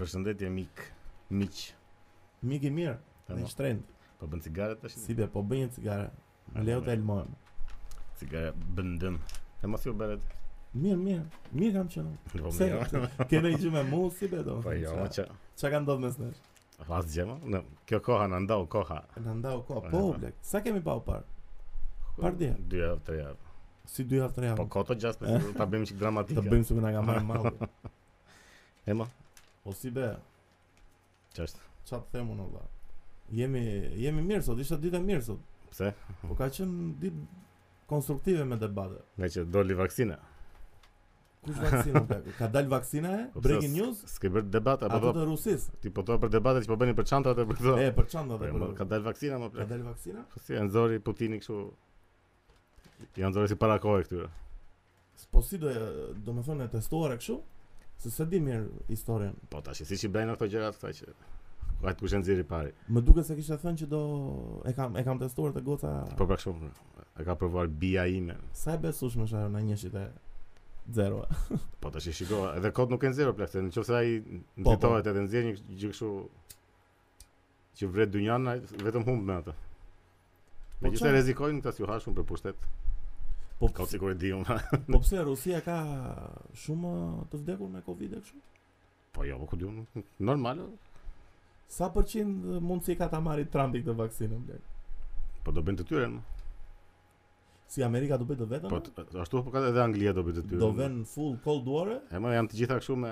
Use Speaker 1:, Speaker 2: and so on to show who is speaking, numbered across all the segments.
Speaker 1: Përshëndetje mik, miq.
Speaker 2: Mik i mirë,
Speaker 1: Tamam.
Speaker 2: në shtrend.
Speaker 1: Po bën cigare tash?
Speaker 2: Si be, po bëj një cigare. Leo të elmojmë.
Speaker 1: Cigare bën dëm. E mos ju bëret.
Speaker 2: Mirë, mirë. Mirë kam qenë.
Speaker 1: Po
Speaker 2: Pse?
Speaker 1: mirë.
Speaker 2: Ke ndonjë gjë me mu si be do?
Speaker 1: Po jo, ma që
Speaker 2: Çka ka ndodhur mes nesh?
Speaker 1: Vas gjema? Në, kjo koha në ndau koha
Speaker 2: Na ndau ko.
Speaker 1: Po,
Speaker 2: Po,
Speaker 1: po.
Speaker 2: blek. Sa kemi pa u parë? Par dje.
Speaker 1: Dy javë, tre javë
Speaker 2: Si dy javë, tre
Speaker 1: Po
Speaker 2: javë.
Speaker 1: koto gjas me ta bëjmë qik
Speaker 2: Të
Speaker 1: dramatike
Speaker 2: Eh. bëjmë se na ka marrë malli.
Speaker 1: E ma,
Speaker 2: Po si be,
Speaker 1: që është
Speaker 2: ç'a të them unë valla. Jemi jemi mirë sot, ishte ditë e mirë sot.
Speaker 1: Pse?
Speaker 2: Po ka qenë ditë konstruktive me debate.
Speaker 1: Me që doli vaksina
Speaker 2: Kush vaksina blek? Ka dal vaksina e?
Speaker 1: Po pse
Speaker 2: Breaking
Speaker 1: s-
Speaker 2: news?
Speaker 1: S'ke bërë debata
Speaker 2: Ato
Speaker 1: po do
Speaker 2: të Rusisë.
Speaker 1: Ti po thua për debate që po bëni për çantat e për këto
Speaker 2: E, për
Speaker 1: Po,
Speaker 2: çfarë ndodhet?
Speaker 1: e, mo,
Speaker 2: për-
Speaker 1: Ka dalë vaksina më
Speaker 2: Ka
Speaker 1: plek
Speaker 2: dal vaksina?
Speaker 1: Po si, e nëzori Putini kështu Janë nëzori si para kohë e këtyre
Speaker 2: Po si do e- do më thonë e testuar e kështu? Se se di mirë historien.
Speaker 1: Po tash si që bëjnë ato gjërat këta që Kajtë kush e nëziri pari
Speaker 2: Më duket se kishte thënë që do e kam e kam testuar te goca.
Speaker 1: Po pra shumë E ka provuar bia ime
Speaker 2: Sa e besueshme është ajo në njëshit e zero.
Speaker 1: Po tash i shiko, edhe kot nuk e nxjerr plak, se nëse ai
Speaker 2: Po,
Speaker 1: nxitohet edhe nxjerr një gjë kështu që vret dynjan, ai vetëm humb me atë.
Speaker 2: Po
Speaker 1: Megjithëse
Speaker 2: çfarë?
Speaker 1: rrezikojnë këta si u hashun për pushtet.
Speaker 2: Po
Speaker 1: Ka
Speaker 2: pse,
Speaker 1: sikur e di unë.
Speaker 2: po pse Rusia ka shumë të vdekur me Covid e kështu?
Speaker 1: Po jo, po ku di unë. Normal.
Speaker 2: Sa përqind mundësi ka ta marrë Trumpi këtë vaksinën bler?
Speaker 1: Po do bën të tyren.
Speaker 2: Si Amerika do bëj të vetën?
Speaker 1: Po t- ashtu po ka edhe Anglia do bën të tyren.
Speaker 2: do vën full cold war?
Speaker 1: E më janë të gjitha kështu me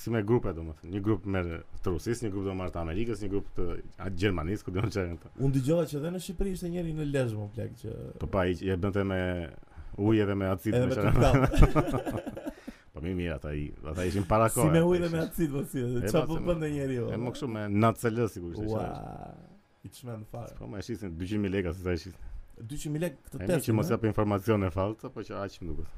Speaker 1: si me grupe domethënë. Një grup merr të Rusisë, një grup do marr të Amerikës, një grup të a- Gjermanisë, ku diun çfarë janë këta.
Speaker 2: Unë dëgjova që edhe në Shqipëri ishte njëri në lezhmë plak që
Speaker 1: Po pa, i e bënte me ujë edhe me acid
Speaker 2: edhe me
Speaker 1: çfarë.
Speaker 2: koktal.
Speaker 1: Po mi mirë ata i, ata ishin para
Speaker 2: si
Speaker 1: kohë.
Speaker 2: me ujë dhe me acid po si.
Speaker 1: E, ma,
Speaker 2: Çfarë po
Speaker 1: se ma-
Speaker 2: bën njeriu?
Speaker 1: E më kështu me NACL sikur ishte.
Speaker 2: Ua.
Speaker 1: qeverisht.
Speaker 2: I çmend fare.
Speaker 1: Po më shisin 200000 lekë se sa e shisin.
Speaker 2: 200.000 lekë
Speaker 1: E
Speaker 2: këtë
Speaker 1: mi
Speaker 2: test.
Speaker 1: që mos jap informacione falsa, po që aq më duket.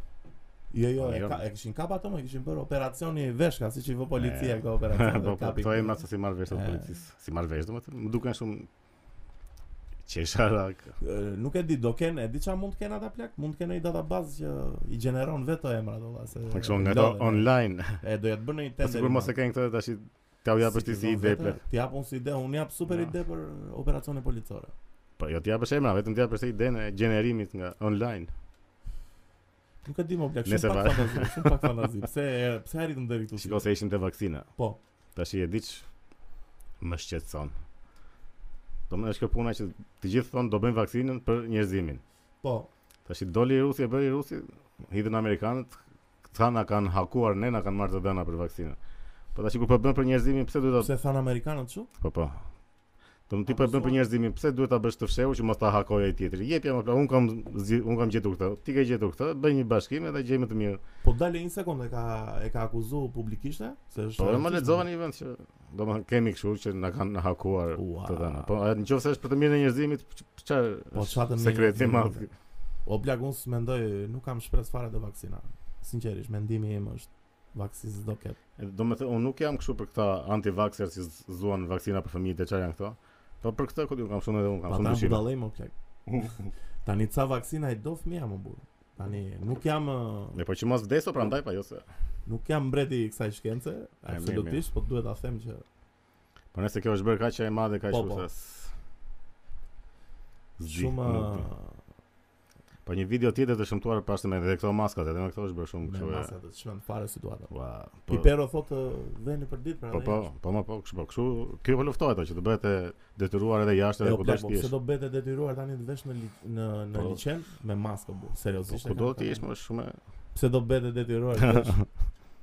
Speaker 2: Jo, jo,
Speaker 1: Po,
Speaker 2: e,
Speaker 1: jo.
Speaker 2: ka, e kishin kap ato, më kishin bërë operacioni veshka, siç i vë policia
Speaker 1: E,
Speaker 2: këto operacione.
Speaker 1: Po
Speaker 2: dhe
Speaker 1: po
Speaker 2: kapin.
Speaker 1: to e më si marr vesh të
Speaker 2: E.
Speaker 1: policisë. Si marr vesh domethënë, më duken shumë qesharak.
Speaker 2: E, Nuk e di, do kenë, e di çfarë mund të kenë ata plak, mund të kenë një databazë që i gjeneron vetë emrat olla se.
Speaker 1: Po kështu nga ato
Speaker 2: lodhen, e.
Speaker 1: online.
Speaker 2: E do ja të bën një
Speaker 1: Po
Speaker 2: tender.
Speaker 1: sigur mos e kanë këto tash i- ta u japësh ti si ide plot.
Speaker 2: Ti jap unë si ide, unë jap super
Speaker 1: Ja.
Speaker 2: ide për operacione policore.
Speaker 1: Po jo ti japësh emra, vetëm ti japësh idenë e gjenerimit nga online.
Speaker 2: Nuk e di më plak,
Speaker 1: Nëse
Speaker 2: shumë pak
Speaker 1: va-
Speaker 2: fantazi, shumë pak fantazi. Pse pse arritëm deri këtu?
Speaker 1: Shikoj se ishim te vaksina.
Speaker 2: Po.
Speaker 1: Tash i e diç më shqetëson. Do më është kjo puna që të gjithë thonë do bëjmë vaksinën për njerëzimin.
Speaker 2: Po,
Speaker 1: Tash i doli Rusi e bëri Rusi, hidhen amerikanët, këta na kanë hakuar, ne na kanë marrë të dhëna për vaksinën. Po tash kur po bën për njerëzimin, pse duhet ta
Speaker 2: pse than amerikanët çu?
Speaker 1: po po. Do të ti po e bën për njerëzimin, pse duhet ta bësh të fshehur që mos ta hakojë ai tjetri. Jep jam, un kam zgj- un kam gjetur këtë. Ti ke gjetur këtë, bëj një bashkim edhe gjejmë të mirë.
Speaker 2: Po dale një sekondë e ka e ka akuzuar publikisht e? se është.
Speaker 1: Po e më
Speaker 2: rasist.
Speaker 1: lexova në një vend që domethënë kemi kështu që na kanë hakuar
Speaker 2: Ua.
Speaker 1: të dhëna. Po e, nëse është për të mirën e njerëzimit, ç- çfarë
Speaker 2: Po çfarë të mirë
Speaker 1: sekreti i
Speaker 2: njerëzimit,
Speaker 1: madh?
Speaker 2: e? O plak, unë së mendoj, nuk kam shpresë fare të vaksina. Sinqerisht, mendimi im është vaksinës do ketë.
Speaker 1: Domethënë unë nuk jam kështu për këta anti-vaxxer që z- zuan vaksina për fëmijët e çfarë janë këto. Po për këtë kodin kam shumë edhe unë kam
Speaker 2: Pa
Speaker 1: shumë
Speaker 2: ta më
Speaker 1: dyshime.
Speaker 2: budallej më plak. Tani ca vaksina i do fëmija më burë. Tani nuk jam ë,
Speaker 1: Ne po që mos vdeso prandaj pa jo se.
Speaker 2: nuk jam mbreti i kësaj shkence,
Speaker 1: mirë,
Speaker 2: absolutisht, po duhet ta them që
Speaker 1: Po nëse kjo është bërë kaq e madhe kaq
Speaker 2: Po,
Speaker 1: kështu
Speaker 2: po.
Speaker 1: se. s- Zdi,
Speaker 2: shumë
Speaker 1: nuk di. Po një video tjetër të shëmtuar pas me edhe këto maskat, edhe me këto është bërë shumë
Speaker 2: ë, me
Speaker 1: kështu. e-
Speaker 2: masa të çmend fare situata.
Speaker 1: Ua. po-
Speaker 2: Pipero thotë ë, veni për ditë pra.
Speaker 1: Po
Speaker 2: ne
Speaker 1: po,
Speaker 2: jashtë.
Speaker 1: po më po, kështu po, kështu kjo po luftohet ajo që të bëhet e detyruar edhe jashtë
Speaker 2: E
Speaker 1: edhe
Speaker 2: o
Speaker 1: kudo
Speaker 2: plak,
Speaker 1: të
Speaker 2: po
Speaker 1: jesh.
Speaker 2: pse do bëhet e detyruar tani të vesh në li, në në
Speaker 1: Po.
Speaker 2: liçen me maskë bu.
Speaker 1: Po
Speaker 2: Seriozisht. e
Speaker 1: kudo
Speaker 2: kam
Speaker 1: të
Speaker 2: thënë.
Speaker 1: jesh më shumë. e-
Speaker 2: Pse do bëhet e detyruar të vesh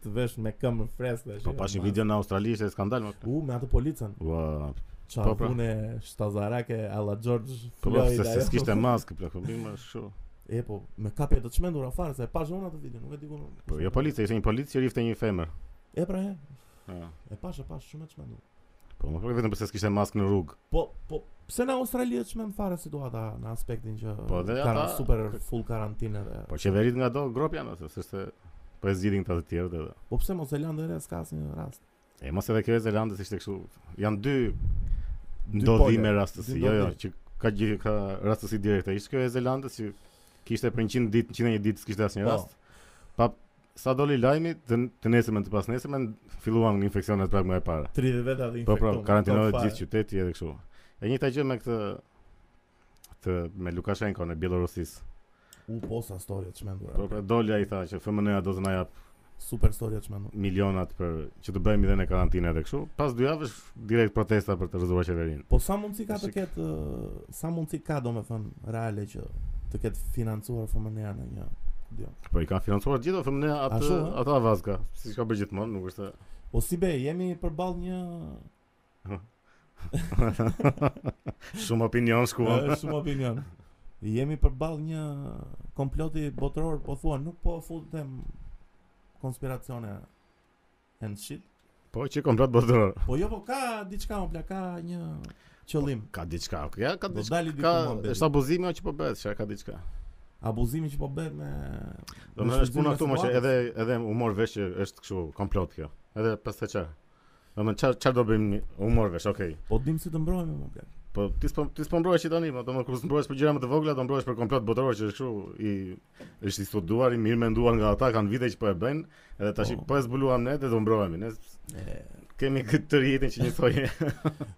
Speaker 2: të vesh me këmbë freskë tash.
Speaker 1: Po
Speaker 2: jo,
Speaker 1: pash një
Speaker 2: mas-
Speaker 1: video në Australi ishte skandal më.
Speaker 2: U me atë policën.
Speaker 1: Ua, Po, pra.
Speaker 2: Çafune shtazarake alla George
Speaker 1: po po,
Speaker 2: Floyd.
Speaker 1: se se
Speaker 2: ajo.
Speaker 1: s'kishte maskë plak, po më kështu.
Speaker 2: E po, me kapje të çmendura fare se e pash unë atë video, nuk e di ku.
Speaker 1: Po jo policia, ishte një policë që rifte një femër.
Speaker 2: E pra e,
Speaker 1: Ah,
Speaker 2: e pash e pash shumë e çmendur.
Speaker 1: Po më pak vetëm pse s'kishte maskë në rrugë.
Speaker 2: Po, po, pse në Australi e çmend fare situata në aspektin që
Speaker 1: Po, dhe
Speaker 2: kanë
Speaker 1: ata-
Speaker 2: super full karantinë dhe.
Speaker 1: Po qeverit nga do grop janë ose s'është po e zgjidhin këta të tjerë edhe.
Speaker 2: Po pse mos e lanë dhe re s'ka asnjë rast.
Speaker 1: E mos edhe kjo e Zelandës ishte kështu. Janë dy
Speaker 2: Dy
Speaker 1: ndodhime
Speaker 2: pole,
Speaker 1: rastësi,
Speaker 2: dy
Speaker 1: jo jo,
Speaker 2: ndodhime.
Speaker 1: që ka gjithë ka rastësi direkte. Ishte kjo e Zelandës që kishte për 100 ditë, 101 ditë s'kishte asnjë
Speaker 2: Po.
Speaker 1: rast. Pa sa doli lajmi, të, të nesërmen të pas nesërmen filluam në infeksionet prapë nga e para.
Speaker 2: 30 veta dhe
Speaker 1: Po
Speaker 2: infektuar.
Speaker 1: po, karantinohet gjithë qyteti edhe kështu. E njëjta gjë me këtë të me Lukashenko në Bielorusis.
Speaker 2: U posa storja të çmendura.
Speaker 1: Po pra doli ai tha që FMN-ja do të na jap
Speaker 2: Super storja të çmendur.
Speaker 1: milionat për që të bëjmë edhe në karantinë edhe kështu. Pas dy javësh direkt protesta për të rrëzuar qeverinë.
Speaker 2: Po sa mundësi ka të
Speaker 1: Shik.
Speaker 2: ketë ë, sa mundësi ka domethënë reale që të ketë financuar fëmënia në një dio.
Speaker 1: Po i ka financuar gjithë FMN-ja atë
Speaker 2: Ashtu, ë?
Speaker 1: atë Avazka, siç ka bërë gjithmonë, nuk është. se-
Speaker 2: Po si be, jemi përballë një
Speaker 1: Shumë opinion shkuam.
Speaker 2: Ë, shumë opinion. Jemi përballë një komploti botëror, po thua, nuk po futem konspiracione and shit.
Speaker 1: Po që komplet botëror.
Speaker 2: Po jo, po ka diçka, o bla, ka një qëllim.
Speaker 1: Ka diçka, ok, ja, ka
Speaker 2: Do
Speaker 1: diçka.
Speaker 2: dali diku
Speaker 1: Ka
Speaker 2: më
Speaker 1: është abuzimi ajo që po bëhet, që ka diçka.
Speaker 2: Abuzimi që po bëhet me
Speaker 1: Do më
Speaker 2: me
Speaker 1: është puna
Speaker 2: shfrytëzimin e
Speaker 1: këtu më që
Speaker 2: situatës.
Speaker 1: edhe edhe u mor vesh që është kështu komplot kjo. Edhe pastaj çfarë? Do më çfarë çfarë do bëjmë? U mor vesh, okay.
Speaker 2: po dim si të mbrohemi më bla.
Speaker 1: Po ti s'po ti s'po mbrohesh që tani, më do më kur mbrohesh për gjëra më të vogla, do mbrohesh për komplot botëror që është kështu i është i studuar, i mirë menduar nga ata, kanë vite që po e bëjnë, edhe tash
Speaker 2: Po.
Speaker 1: po e zbuluam ne dhe do mbrohemi. Ne
Speaker 2: E,
Speaker 1: kemi këtë të rjetin që njësoj.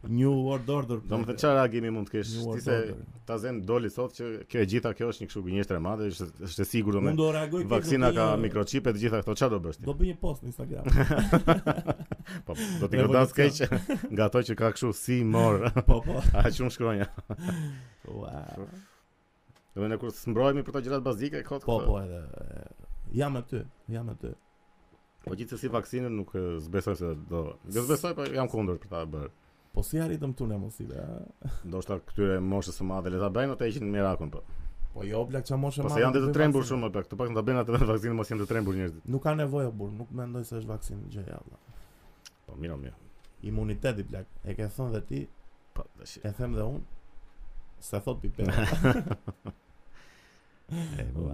Speaker 2: New World Order.
Speaker 1: do më
Speaker 2: bre.
Speaker 1: thënë çfarë reagimi mund të kesh?
Speaker 2: New
Speaker 1: Ti
Speaker 2: World
Speaker 1: se
Speaker 2: Order.
Speaker 1: ta zen doli sot që kjo e gjitha kjo është një kështu gënjeshtër e madhe, është është e sigurt
Speaker 2: Unë
Speaker 1: domun.
Speaker 2: do reagoj keq, do
Speaker 1: Vaksina
Speaker 2: bëj
Speaker 1: ka
Speaker 2: një-
Speaker 1: mikroçipe, të gjitha këto çfarë do bësh ti?
Speaker 2: Do bëj një post në Instagram.
Speaker 1: Po, do t'i godas keq nga ato që ka kështu si mor,
Speaker 2: po po.
Speaker 1: a shumë shkronja.
Speaker 2: Ua.
Speaker 1: Do më në kur s'mbrohemi për këto gjërat bazike, kot.
Speaker 2: Po po edhe e, jam aty, jam aty.
Speaker 1: Po gjithsesi vaksinën nuk e, zbesoj se do. Do zbesoj, po jam kundër për ta bërë.
Speaker 2: Po si arritëm tu në mos i be. a?
Speaker 1: Ndoshta këtyre moshës së madhe le ta bëjnë ata ishin mirakun po.
Speaker 2: Po jo blaq çamo
Speaker 1: Po
Speaker 2: shemë.
Speaker 1: se janë dhe të trembur shumë apo këto pak ta bëjnë atë vaksinën mos janë të trembur njerëzit.
Speaker 2: Nuk ka nevojë burr, nuk mendoj se është vaksinë gjë e valla.
Speaker 1: Po mirë, mirë.
Speaker 2: Imuniteti blaq. E ke thënë dhe ti,
Speaker 1: Po tash.
Speaker 2: e them dhe unë. Se thot pipe.
Speaker 1: po,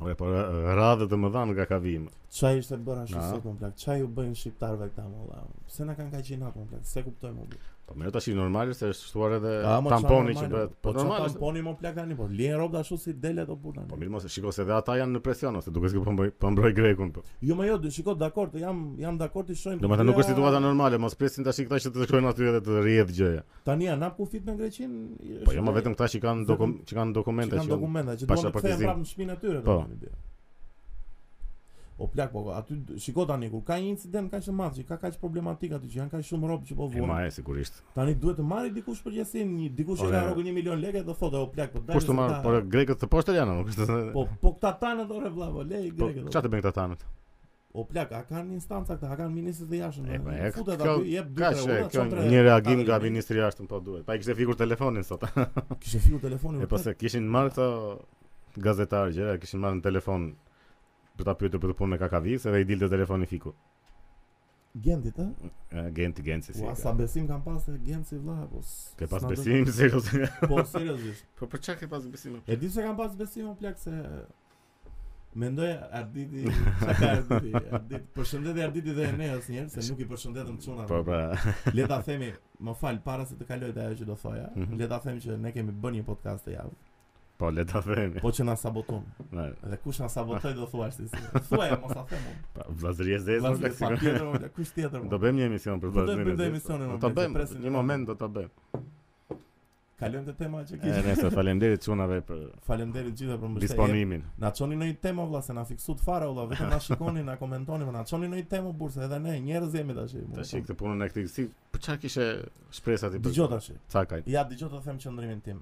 Speaker 1: Ore, po radhë të më dhanë nga kavim.
Speaker 2: Çaj ishte bërë ashtu
Speaker 1: Na.
Speaker 2: sot më plak. Çaj u bëjnë shqiptarëve këta më valla. Pse na kanë kaq gjinat më plak? Se kuptoj më plak.
Speaker 1: Po mirë tash i normal se është shtuar edhe
Speaker 2: A, mo, Ah, çfarë
Speaker 1: tamponi që
Speaker 2: normali,
Speaker 1: bëhet. Po
Speaker 2: Po
Speaker 1: normal. është-
Speaker 2: tamponi më plak tani, po lien rrobat ashtu si delet o burr
Speaker 1: Po
Speaker 2: tani.
Speaker 1: mirë mos, shiko se edhe ata janë në presion ose duke sikur po mbroj- po mbroj grekun. Po.
Speaker 2: Jo më jo, dy- shiko, dakor, të jam jam dakor ti shohim.
Speaker 1: Domethënë nuk është situata normale, mos presin tash këta që të shkojnë aty edhe të rrjedh gjëja.
Speaker 2: Tani ja nap kufit me Greqin.
Speaker 1: Po jo më vetëm këta që kanë dokum, që kanë
Speaker 2: Që
Speaker 1: dokumente që
Speaker 2: kanë dokumenta që duan të kthehen
Speaker 1: pasaportizim.
Speaker 2: prapë në shtëpinë e tyre
Speaker 1: Po.
Speaker 2: domethënë bie. O plak po aty shiko tani kur ka një incident kaq të madh që ka kaq problematik aty që janë kaq shumë rob që po
Speaker 1: E ma
Speaker 2: vuan.
Speaker 1: e sigurisht.
Speaker 2: Tani duhet të marrë dikush përgjegjësinë, një dikush e
Speaker 1: Ore.
Speaker 2: ka rrogën 1 milion lekë do thotë o plak po
Speaker 1: Po
Speaker 2: dalë.
Speaker 1: shtu marr, por grekët të poshtër janë, nuk është. se-
Speaker 2: po po këta tanë dorë vlla po lej
Speaker 1: Po
Speaker 2: grekët. po.
Speaker 1: çfarë të bën këta tanët?
Speaker 2: O plak, a kanë instanca këta, a kanë ministrë të jashtëm.
Speaker 1: E, po,
Speaker 2: domethënë,
Speaker 1: e,
Speaker 2: Futet
Speaker 1: kjo-
Speaker 2: aty, jep 2
Speaker 1: Ka
Speaker 2: tre
Speaker 1: që
Speaker 2: ura,
Speaker 1: kjo
Speaker 2: çon tre
Speaker 1: një reagim
Speaker 2: ure,
Speaker 1: nga
Speaker 2: ta
Speaker 1: ministri i jashtëm po duhet. Pa i kishte fikur telefonin sot.
Speaker 2: vini. Kishte fiu telefonin.
Speaker 1: E pas se kishin marrë këto gazetarë gjëra, kishin marrë në telefon për ta pyetur për të punën e kakavis, edhe i dilte telefoni fiku.
Speaker 2: Gentit, ë?
Speaker 1: E, Genti, genti si.
Speaker 2: Ua,
Speaker 1: ka.
Speaker 2: sa besim kam pas te Genci vlla, po. s-
Speaker 1: Ke pas
Speaker 2: s'na do-
Speaker 1: besim seriozisht.
Speaker 2: Po seriozisht.
Speaker 1: Po për çka ke pas besim?
Speaker 2: E di se kam pas besim o plak se Mendoj Arditi, çka ka Arditi? Arditi, përshëndetje Arditi dhe Eneas një herë se nuk i përshëndetëm çuna.
Speaker 1: Po pra,
Speaker 2: Le ta themi, më fal para se të kaloj te ajo që do thoja.
Speaker 1: Mhm.
Speaker 2: Le ta them që ne kemi bën një podcast të javë,
Speaker 1: po le ta themi.
Speaker 2: po që na saboton.
Speaker 1: Na,
Speaker 2: Dhe kush na sabotoi do thuash ti. Thuaj mos ta them unë.
Speaker 1: pa vllazëri e zezë. po,
Speaker 2: Vazhdo pa tjetër, o, kush tjetër? mo?
Speaker 1: Do bëjmë një emision për
Speaker 2: Po do të
Speaker 1: vllazërinë.
Speaker 2: bëjmë dhe
Speaker 1: e zezë.
Speaker 2: emisionin,
Speaker 1: Do
Speaker 2: më
Speaker 1: ta
Speaker 2: blerë, se
Speaker 1: bëjmë.
Speaker 2: presin-
Speaker 1: Një moment do ta bëjmë.
Speaker 2: Kalojmë te tema që
Speaker 1: E
Speaker 2: kishim.
Speaker 1: nesër faleminderit çunave për
Speaker 2: Faleminderit gjithë për mbështetjen.
Speaker 1: disponimin.
Speaker 2: Na çoni në një temë vëlla se na fiksu të fare vëlla, vetëm na shikoni, na komentoni, po na çoni në një temë bursa edhe ne njerëz jemi tash. mo.
Speaker 1: Tash këtë punën e këtij si për çka kishe shpresa ti? për-
Speaker 2: Dëgjoj tash.
Speaker 1: Cakaj.
Speaker 2: Ja dëgjoj të them qëndrimin tim.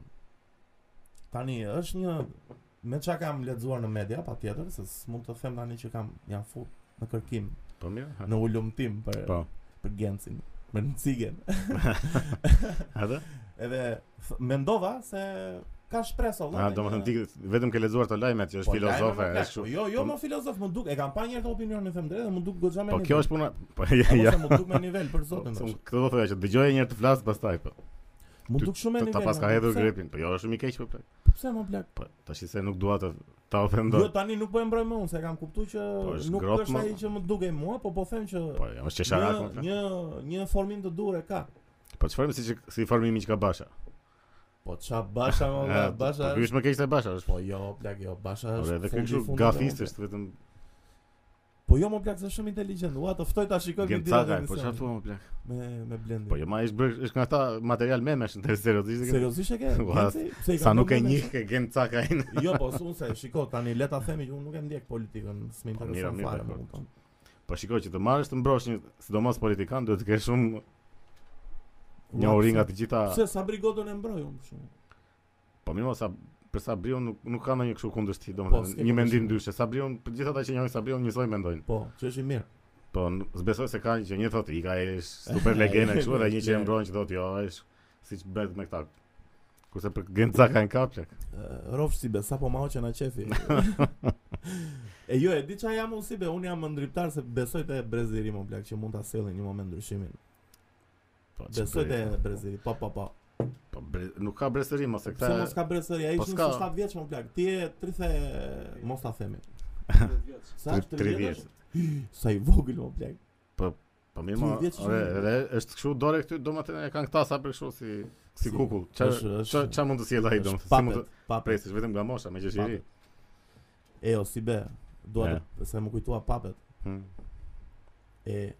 Speaker 2: Tani është një me çka kam lexuar në media patjetër, se s'mund të them tani që kam jam fut në kërkim,
Speaker 1: Po mirë. ha.
Speaker 2: në ulumtim për
Speaker 1: Po.
Speaker 2: për Gencin, për Ncigen.
Speaker 1: Edhe?
Speaker 2: Edhe th- mendova se ka shpresë vëlla.
Speaker 1: A
Speaker 2: dhe
Speaker 1: do të
Speaker 2: një-
Speaker 1: thënë Ah, ti vetëm ke lexuar të lajmet që është
Speaker 2: Po,
Speaker 1: filozofe,
Speaker 2: lajme më
Speaker 1: është
Speaker 2: plak, po,
Speaker 1: kështu.
Speaker 2: Jo, jo,
Speaker 1: Po-
Speaker 2: më filozof, më duk, e kam pa njëherë të opinionin them drejtë, më duk goxha me
Speaker 1: Po
Speaker 2: nivel.
Speaker 1: kjo është puna. Po ja.
Speaker 2: Apo
Speaker 1: ja. Po,
Speaker 2: se më duk me nivel për zotin.
Speaker 1: Se
Speaker 2: tash.
Speaker 1: unë Këtë do thoya që dëgjoje një herë të flas pastaj po.
Speaker 2: Më
Speaker 1: Ty-
Speaker 2: duk shumë me
Speaker 1: Ta-
Speaker 2: nivel.
Speaker 1: Ta pas
Speaker 2: më
Speaker 1: ka
Speaker 2: duk,
Speaker 1: hedhur
Speaker 2: pse-
Speaker 1: grepin. Po jo, është shumë i keq po plak.
Speaker 2: Pse më plak?
Speaker 1: Po tash i se nuk dua të ta ofendoj.
Speaker 2: Jo tani nuk po e mbroj më unë, se kam kuptuar që
Speaker 1: Po, është
Speaker 2: nuk
Speaker 1: grot,
Speaker 2: është
Speaker 1: ma.
Speaker 2: ai që më dukej mua, po po them që
Speaker 1: Po, jam është qesharak. më
Speaker 2: një
Speaker 1: thënë.
Speaker 2: një një formim të durë e ka.
Speaker 1: Po çfarë si që- si formimi që ka Basha?
Speaker 2: Po ça Basha më valla,
Speaker 1: E,
Speaker 2: Basha.
Speaker 1: Po ky
Speaker 2: është-
Speaker 1: është më keq se Basha, është.
Speaker 2: Po jo, plak jo, Basha
Speaker 1: Por
Speaker 2: është.
Speaker 1: edhe ky
Speaker 2: fundi i
Speaker 1: kështu
Speaker 2: fundit,
Speaker 1: gafist
Speaker 2: domethënë.
Speaker 1: është vetëm
Speaker 2: Po jo më plak se shumë inteligjent. Ua, të ftoj ta shikoj
Speaker 1: Gjem
Speaker 2: videon
Speaker 1: caka, po çfarë thua më plak?
Speaker 2: me me Blendi.
Speaker 1: Po jo, ma ish bërë, është nga ata material memesh në të seriozisht. e ke-
Speaker 2: seriozisht e ke?
Speaker 1: Ua,
Speaker 2: Gjenci? Pse i ka
Speaker 1: Sa nuk e
Speaker 2: ndonjë
Speaker 1: njih ke gjem caka in.
Speaker 2: mend- Jo, po unë se shiko tani le ta themi që unë nuk e ndjek politikën, s'më
Speaker 1: Po,
Speaker 2: intereson
Speaker 1: mirë, mirë,
Speaker 2: fare, më
Speaker 1: dakord.
Speaker 2: kupton.
Speaker 1: Po shikoj që të marrësh të mbrosh një, sidomos politikan, duhet të kesh shumë
Speaker 2: Ua,
Speaker 1: një ori
Speaker 2: pse-
Speaker 1: nga të gjitha.
Speaker 2: Pse sa brigodën e mbroj unë për shembull?
Speaker 1: Po mirë, mo, sa për Sabrion nuk nuk ka ndonjë kështu kundërshti,
Speaker 2: Po,
Speaker 1: domethënë
Speaker 2: s'ke
Speaker 1: një mendim
Speaker 2: kundërshtim.
Speaker 1: ndryshe. Sabrion, për gjithë ata që njohin Sabrion njësoj mendojnë.
Speaker 2: Po, që është i mirë.
Speaker 1: Po n- zbesoj se ka që një thotë i ka e super legjenda kështu edhe një që e mbron që thotë jo, është siç bëhet me këta. Kurse për Gencaka në kaplak.
Speaker 2: Eh, Rofsh si be, sa po ma hoqen a qefi E jo, e di qa jam unë si be, unë jam ndriptar se besoj të e breziri më plak Që mund të asellin një moment ndryshimin
Speaker 1: Po që
Speaker 2: Besoj të
Speaker 1: bëj?
Speaker 2: e breziri, po po po
Speaker 1: Po bre- nuk ka brezëri mos e
Speaker 2: Pse mos
Speaker 1: këta.
Speaker 2: ka breziri, a
Speaker 1: po
Speaker 2: ishë
Speaker 1: s'ka.
Speaker 2: 27 vjeç më plak Ti e 30, mos ta themi Sa është 30 vjeç?
Speaker 1: 30.
Speaker 2: Sa i vogël më plak
Speaker 1: Po mirë, mo,
Speaker 2: 30 vjeç është
Speaker 1: ore,
Speaker 2: mirë.
Speaker 1: edhe është kështu dore këtu, domethënë e kanë këta sa për kështu si si
Speaker 2: Si,
Speaker 1: kukull.
Speaker 2: është-
Speaker 1: Çfarë
Speaker 2: është-
Speaker 1: çfarë- çfarë mund të sjellë ai
Speaker 2: Është
Speaker 1: domethënë? Si mund
Speaker 2: Papet,
Speaker 1: të
Speaker 2: papet
Speaker 1: presësh vetëm nga mosha me që shiri.
Speaker 2: E o si be, dua të, se më kujtua papet
Speaker 1: Hmm.
Speaker 2: E,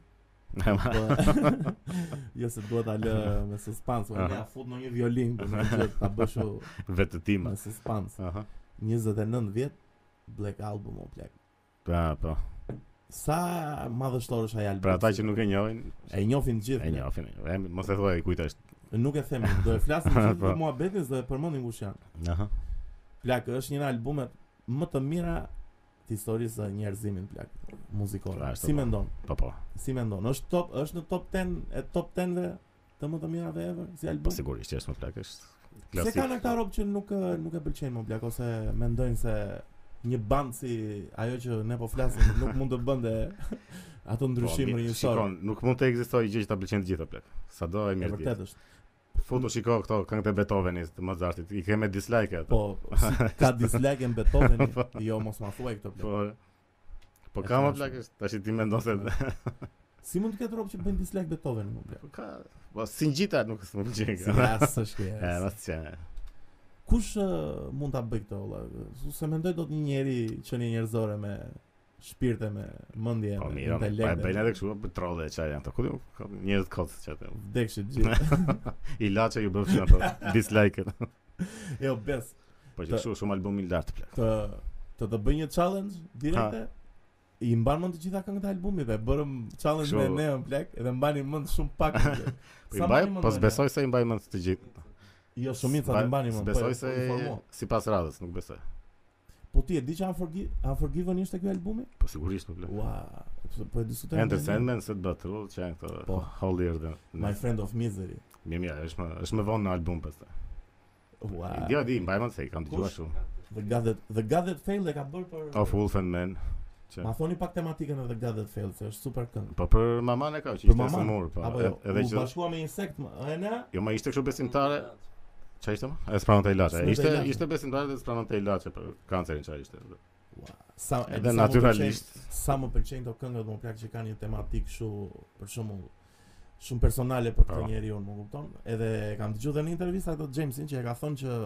Speaker 1: Ne, ma-
Speaker 2: Po, jo se duhet ta lë me suspans, unë
Speaker 1: Aha.
Speaker 2: ja fut në një violin, do të thotë ta bësh u
Speaker 1: Vetë tima.
Speaker 2: me suspans.
Speaker 1: Aha.
Speaker 2: 29 vjet Black Album o plak.
Speaker 1: Pra, po.
Speaker 2: Sa madhështor është ai album?
Speaker 1: Pra ata që nuk e njohin,
Speaker 2: e njohin të gjithë.
Speaker 1: e
Speaker 2: plak.
Speaker 1: njohin. e njohin. E, Mos e thuaj kujt është.
Speaker 2: Nuk e themi, do e flasim gjithë
Speaker 1: Po.
Speaker 2: për muhabetin, do e përmendim kush janë.
Speaker 1: Aha.
Speaker 2: Plak është një nga albumet më të mira të historisë së njerëzimit plak muzikore.
Speaker 1: Pra, ashtu
Speaker 2: Si
Speaker 1: po.
Speaker 2: mendon?
Speaker 1: Po po,
Speaker 2: Si mendon? Është top, është në top 10 e top 10-ve të më të mirave ever si album?
Speaker 1: Po, sigurisht që është më plak është.
Speaker 2: Pse
Speaker 1: Klasik. Po,
Speaker 2: ka në këta rob që nuk eh, nuk e pëlqejnë më blak ose mendojnë se një band si ajo që ne po flasim nuk mund të bënte ato ndryshim
Speaker 1: Po, mi-
Speaker 2: rinjësor.
Speaker 1: Shikon, nuk mund të ekzistojë gjë që ta pëlqen të gjitha plak. Sado e
Speaker 2: E
Speaker 1: mirë. ti.
Speaker 2: vërtet është.
Speaker 1: Futu shiko këto këngët e Beethovenit të Mozartit. I kemë dislike ato.
Speaker 2: Po, si ka dislike në Beethoveni. Jo, mos ma thuaj këto blak.
Speaker 1: Po. Po
Speaker 2: E
Speaker 1: ka më
Speaker 2: thrashme.
Speaker 1: plak është. Tash ti mendon se
Speaker 2: Po. Si mund të ketë rob që bëjnë dislike Beethoveni më blak?
Speaker 1: po ka po si ngjita nuk s'më pëlqen.
Speaker 2: Si
Speaker 1: kjo.
Speaker 2: as është kjo,
Speaker 1: E,
Speaker 2: as.
Speaker 1: mos çe.
Speaker 2: Kush eh, mund ta bëj këto valla? Su se mendoj dot një njeri që një njerëzore me shpirte me mendje
Speaker 1: Po
Speaker 2: me
Speaker 1: mirë, po e
Speaker 2: intelekt.
Speaker 1: bëjnë edhe kështu po trolle e çaj janë. ato. Ku diu, ka njerëz kot çatë.
Speaker 2: Vdekshit gjithë.
Speaker 1: Ilaçe ju bëfshin ato dislike-et.
Speaker 2: Jo, bes.
Speaker 1: Po që
Speaker 2: Të-
Speaker 1: kështu shumë album i lartë plak.
Speaker 2: të të të bëj një challenge direkte. I mban mend të gjitha këngët e albumit dhe bërëm challenge me
Speaker 1: Kështu.
Speaker 2: ne në plak edhe mbani mend shumë pak. më plak.
Speaker 1: Po i
Speaker 2: Sa
Speaker 1: mbaj,
Speaker 2: mbani mend
Speaker 1: po
Speaker 2: me ne?
Speaker 1: besoj se i mbaj mend të gjithë.
Speaker 2: Jo shumica të
Speaker 1: S'baj-
Speaker 2: mbani mend.
Speaker 1: Besoj
Speaker 2: po,
Speaker 1: se
Speaker 2: informo.
Speaker 1: sipas radhës, nuk besoj.
Speaker 2: Po ti e di që Unforgi- Unforgiven ishte ky albumi?
Speaker 1: Po sigurisht nuk plak.
Speaker 2: Ua, po- po e diskutojmë.
Speaker 1: Enter
Speaker 2: ne.
Speaker 1: Sandman se të bëtë rullë që janë këto
Speaker 2: Po.
Speaker 1: Holier than
Speaker 2: My
Speaker 1: Nice.
Speaker 2: Friend of Misery.
Speaker 1: Mirë mirë, është më, është më vonë në album pas të
Speaker 2: Ua.
Speaker 1: Di o di, mbajmën se i kam të gjua
Speaker 2: Kush?
Speaker 1: shumë
Speaker 2: The God That The God That Failed e ka bërë për
Speaker 1: Of Wolf and Men që,
Speaker 2: Ma thoni pak tematikën e The God That Failed se është super këngë.
Speaker 1: Po për maman e ka që
Speaker 2: Për
Speaker 1: ishte
Speaker 2: maman?
Speaker 1: së murë po,
Speaker 2: Apo jo,
Speaker 1: ed- edhe
Speaker 2: u
Speaker 1: që
Speaker 2: bashkua me insekt, më, e na
Speaker 1: Jo ma ishte kështu besimtare Qa ishte ma? E spranon të ilache
Speaker 2: Smetë
Speaker 1: Ishte,
Speaker 2: ilaçe.
Speaker 1: ishte besimtare dhe spranon të ilache për kancerin qa ishte
Speaker 2: Ua, sa e
Speaker 1: Edhe
Speaker 2: sa më
Speaker 1: naturalisht
Speaker 2: pëlqen- sa më pëlqejnë këto këngët më plak që kanë një tematik kështu për shembull shumë personale për këtë
Speaker 1: Po.
Speaker 2: njeriu, më kupton? Edhe kam dëgjuar dhe në intervista këtë Jamesin që e ka thënë që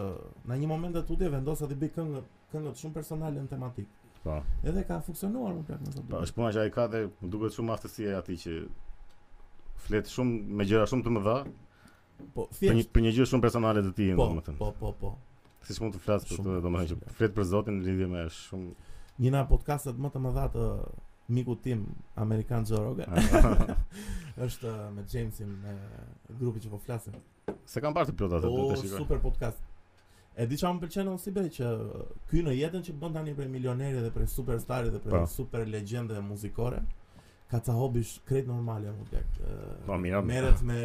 Speaker 2: në një moment të tutje vendosa të bëj këngë këngët shumë personale në tematik.
Speaker 1: Po,
Speaker 2: Edhe ka funksionuar më plak në këtë.
Speaker 1: po është puna që a i ka dhe më duket shumë aftësia e ati që Flet shumë me gjëra shumë të mëdha
Speaker 2: po
Speaker 1: Për një,
Speaker 2: thjesht
Speaker 1: për një gjë shumë personale të ti
Speaker 2: po, po, po, po.
Speaker 1: Siç mund të flas për
Speaker 2: Shumë.
Speaker 1: të, domethënë që flet për Zotin në lidhje me shumë
Speaker 2: Një nga podcastet më të mëdha të miku tim amerikan Joe Rogan
Speaker 1: Ah.
Speaker 2: është eh, me Jamesin me grupi që po flasim.
Speaker 1: Se kam parë të plot atë, duhet
Speaker 2: O,
Speaker 1: të shikoj.
Speaker 2: super podcast. E di çfarë më pëlqen unë si bëj që ky në jetën që bën tani prej milioneri dhe prej superstari dhe prej
Speaker 1: Po.
Speaker 2: super legjende muzikore, ka ca hobi sh- krejt normale më plak. Ë,
Speaker 1: Po, mira.
Speaker 2: Merret me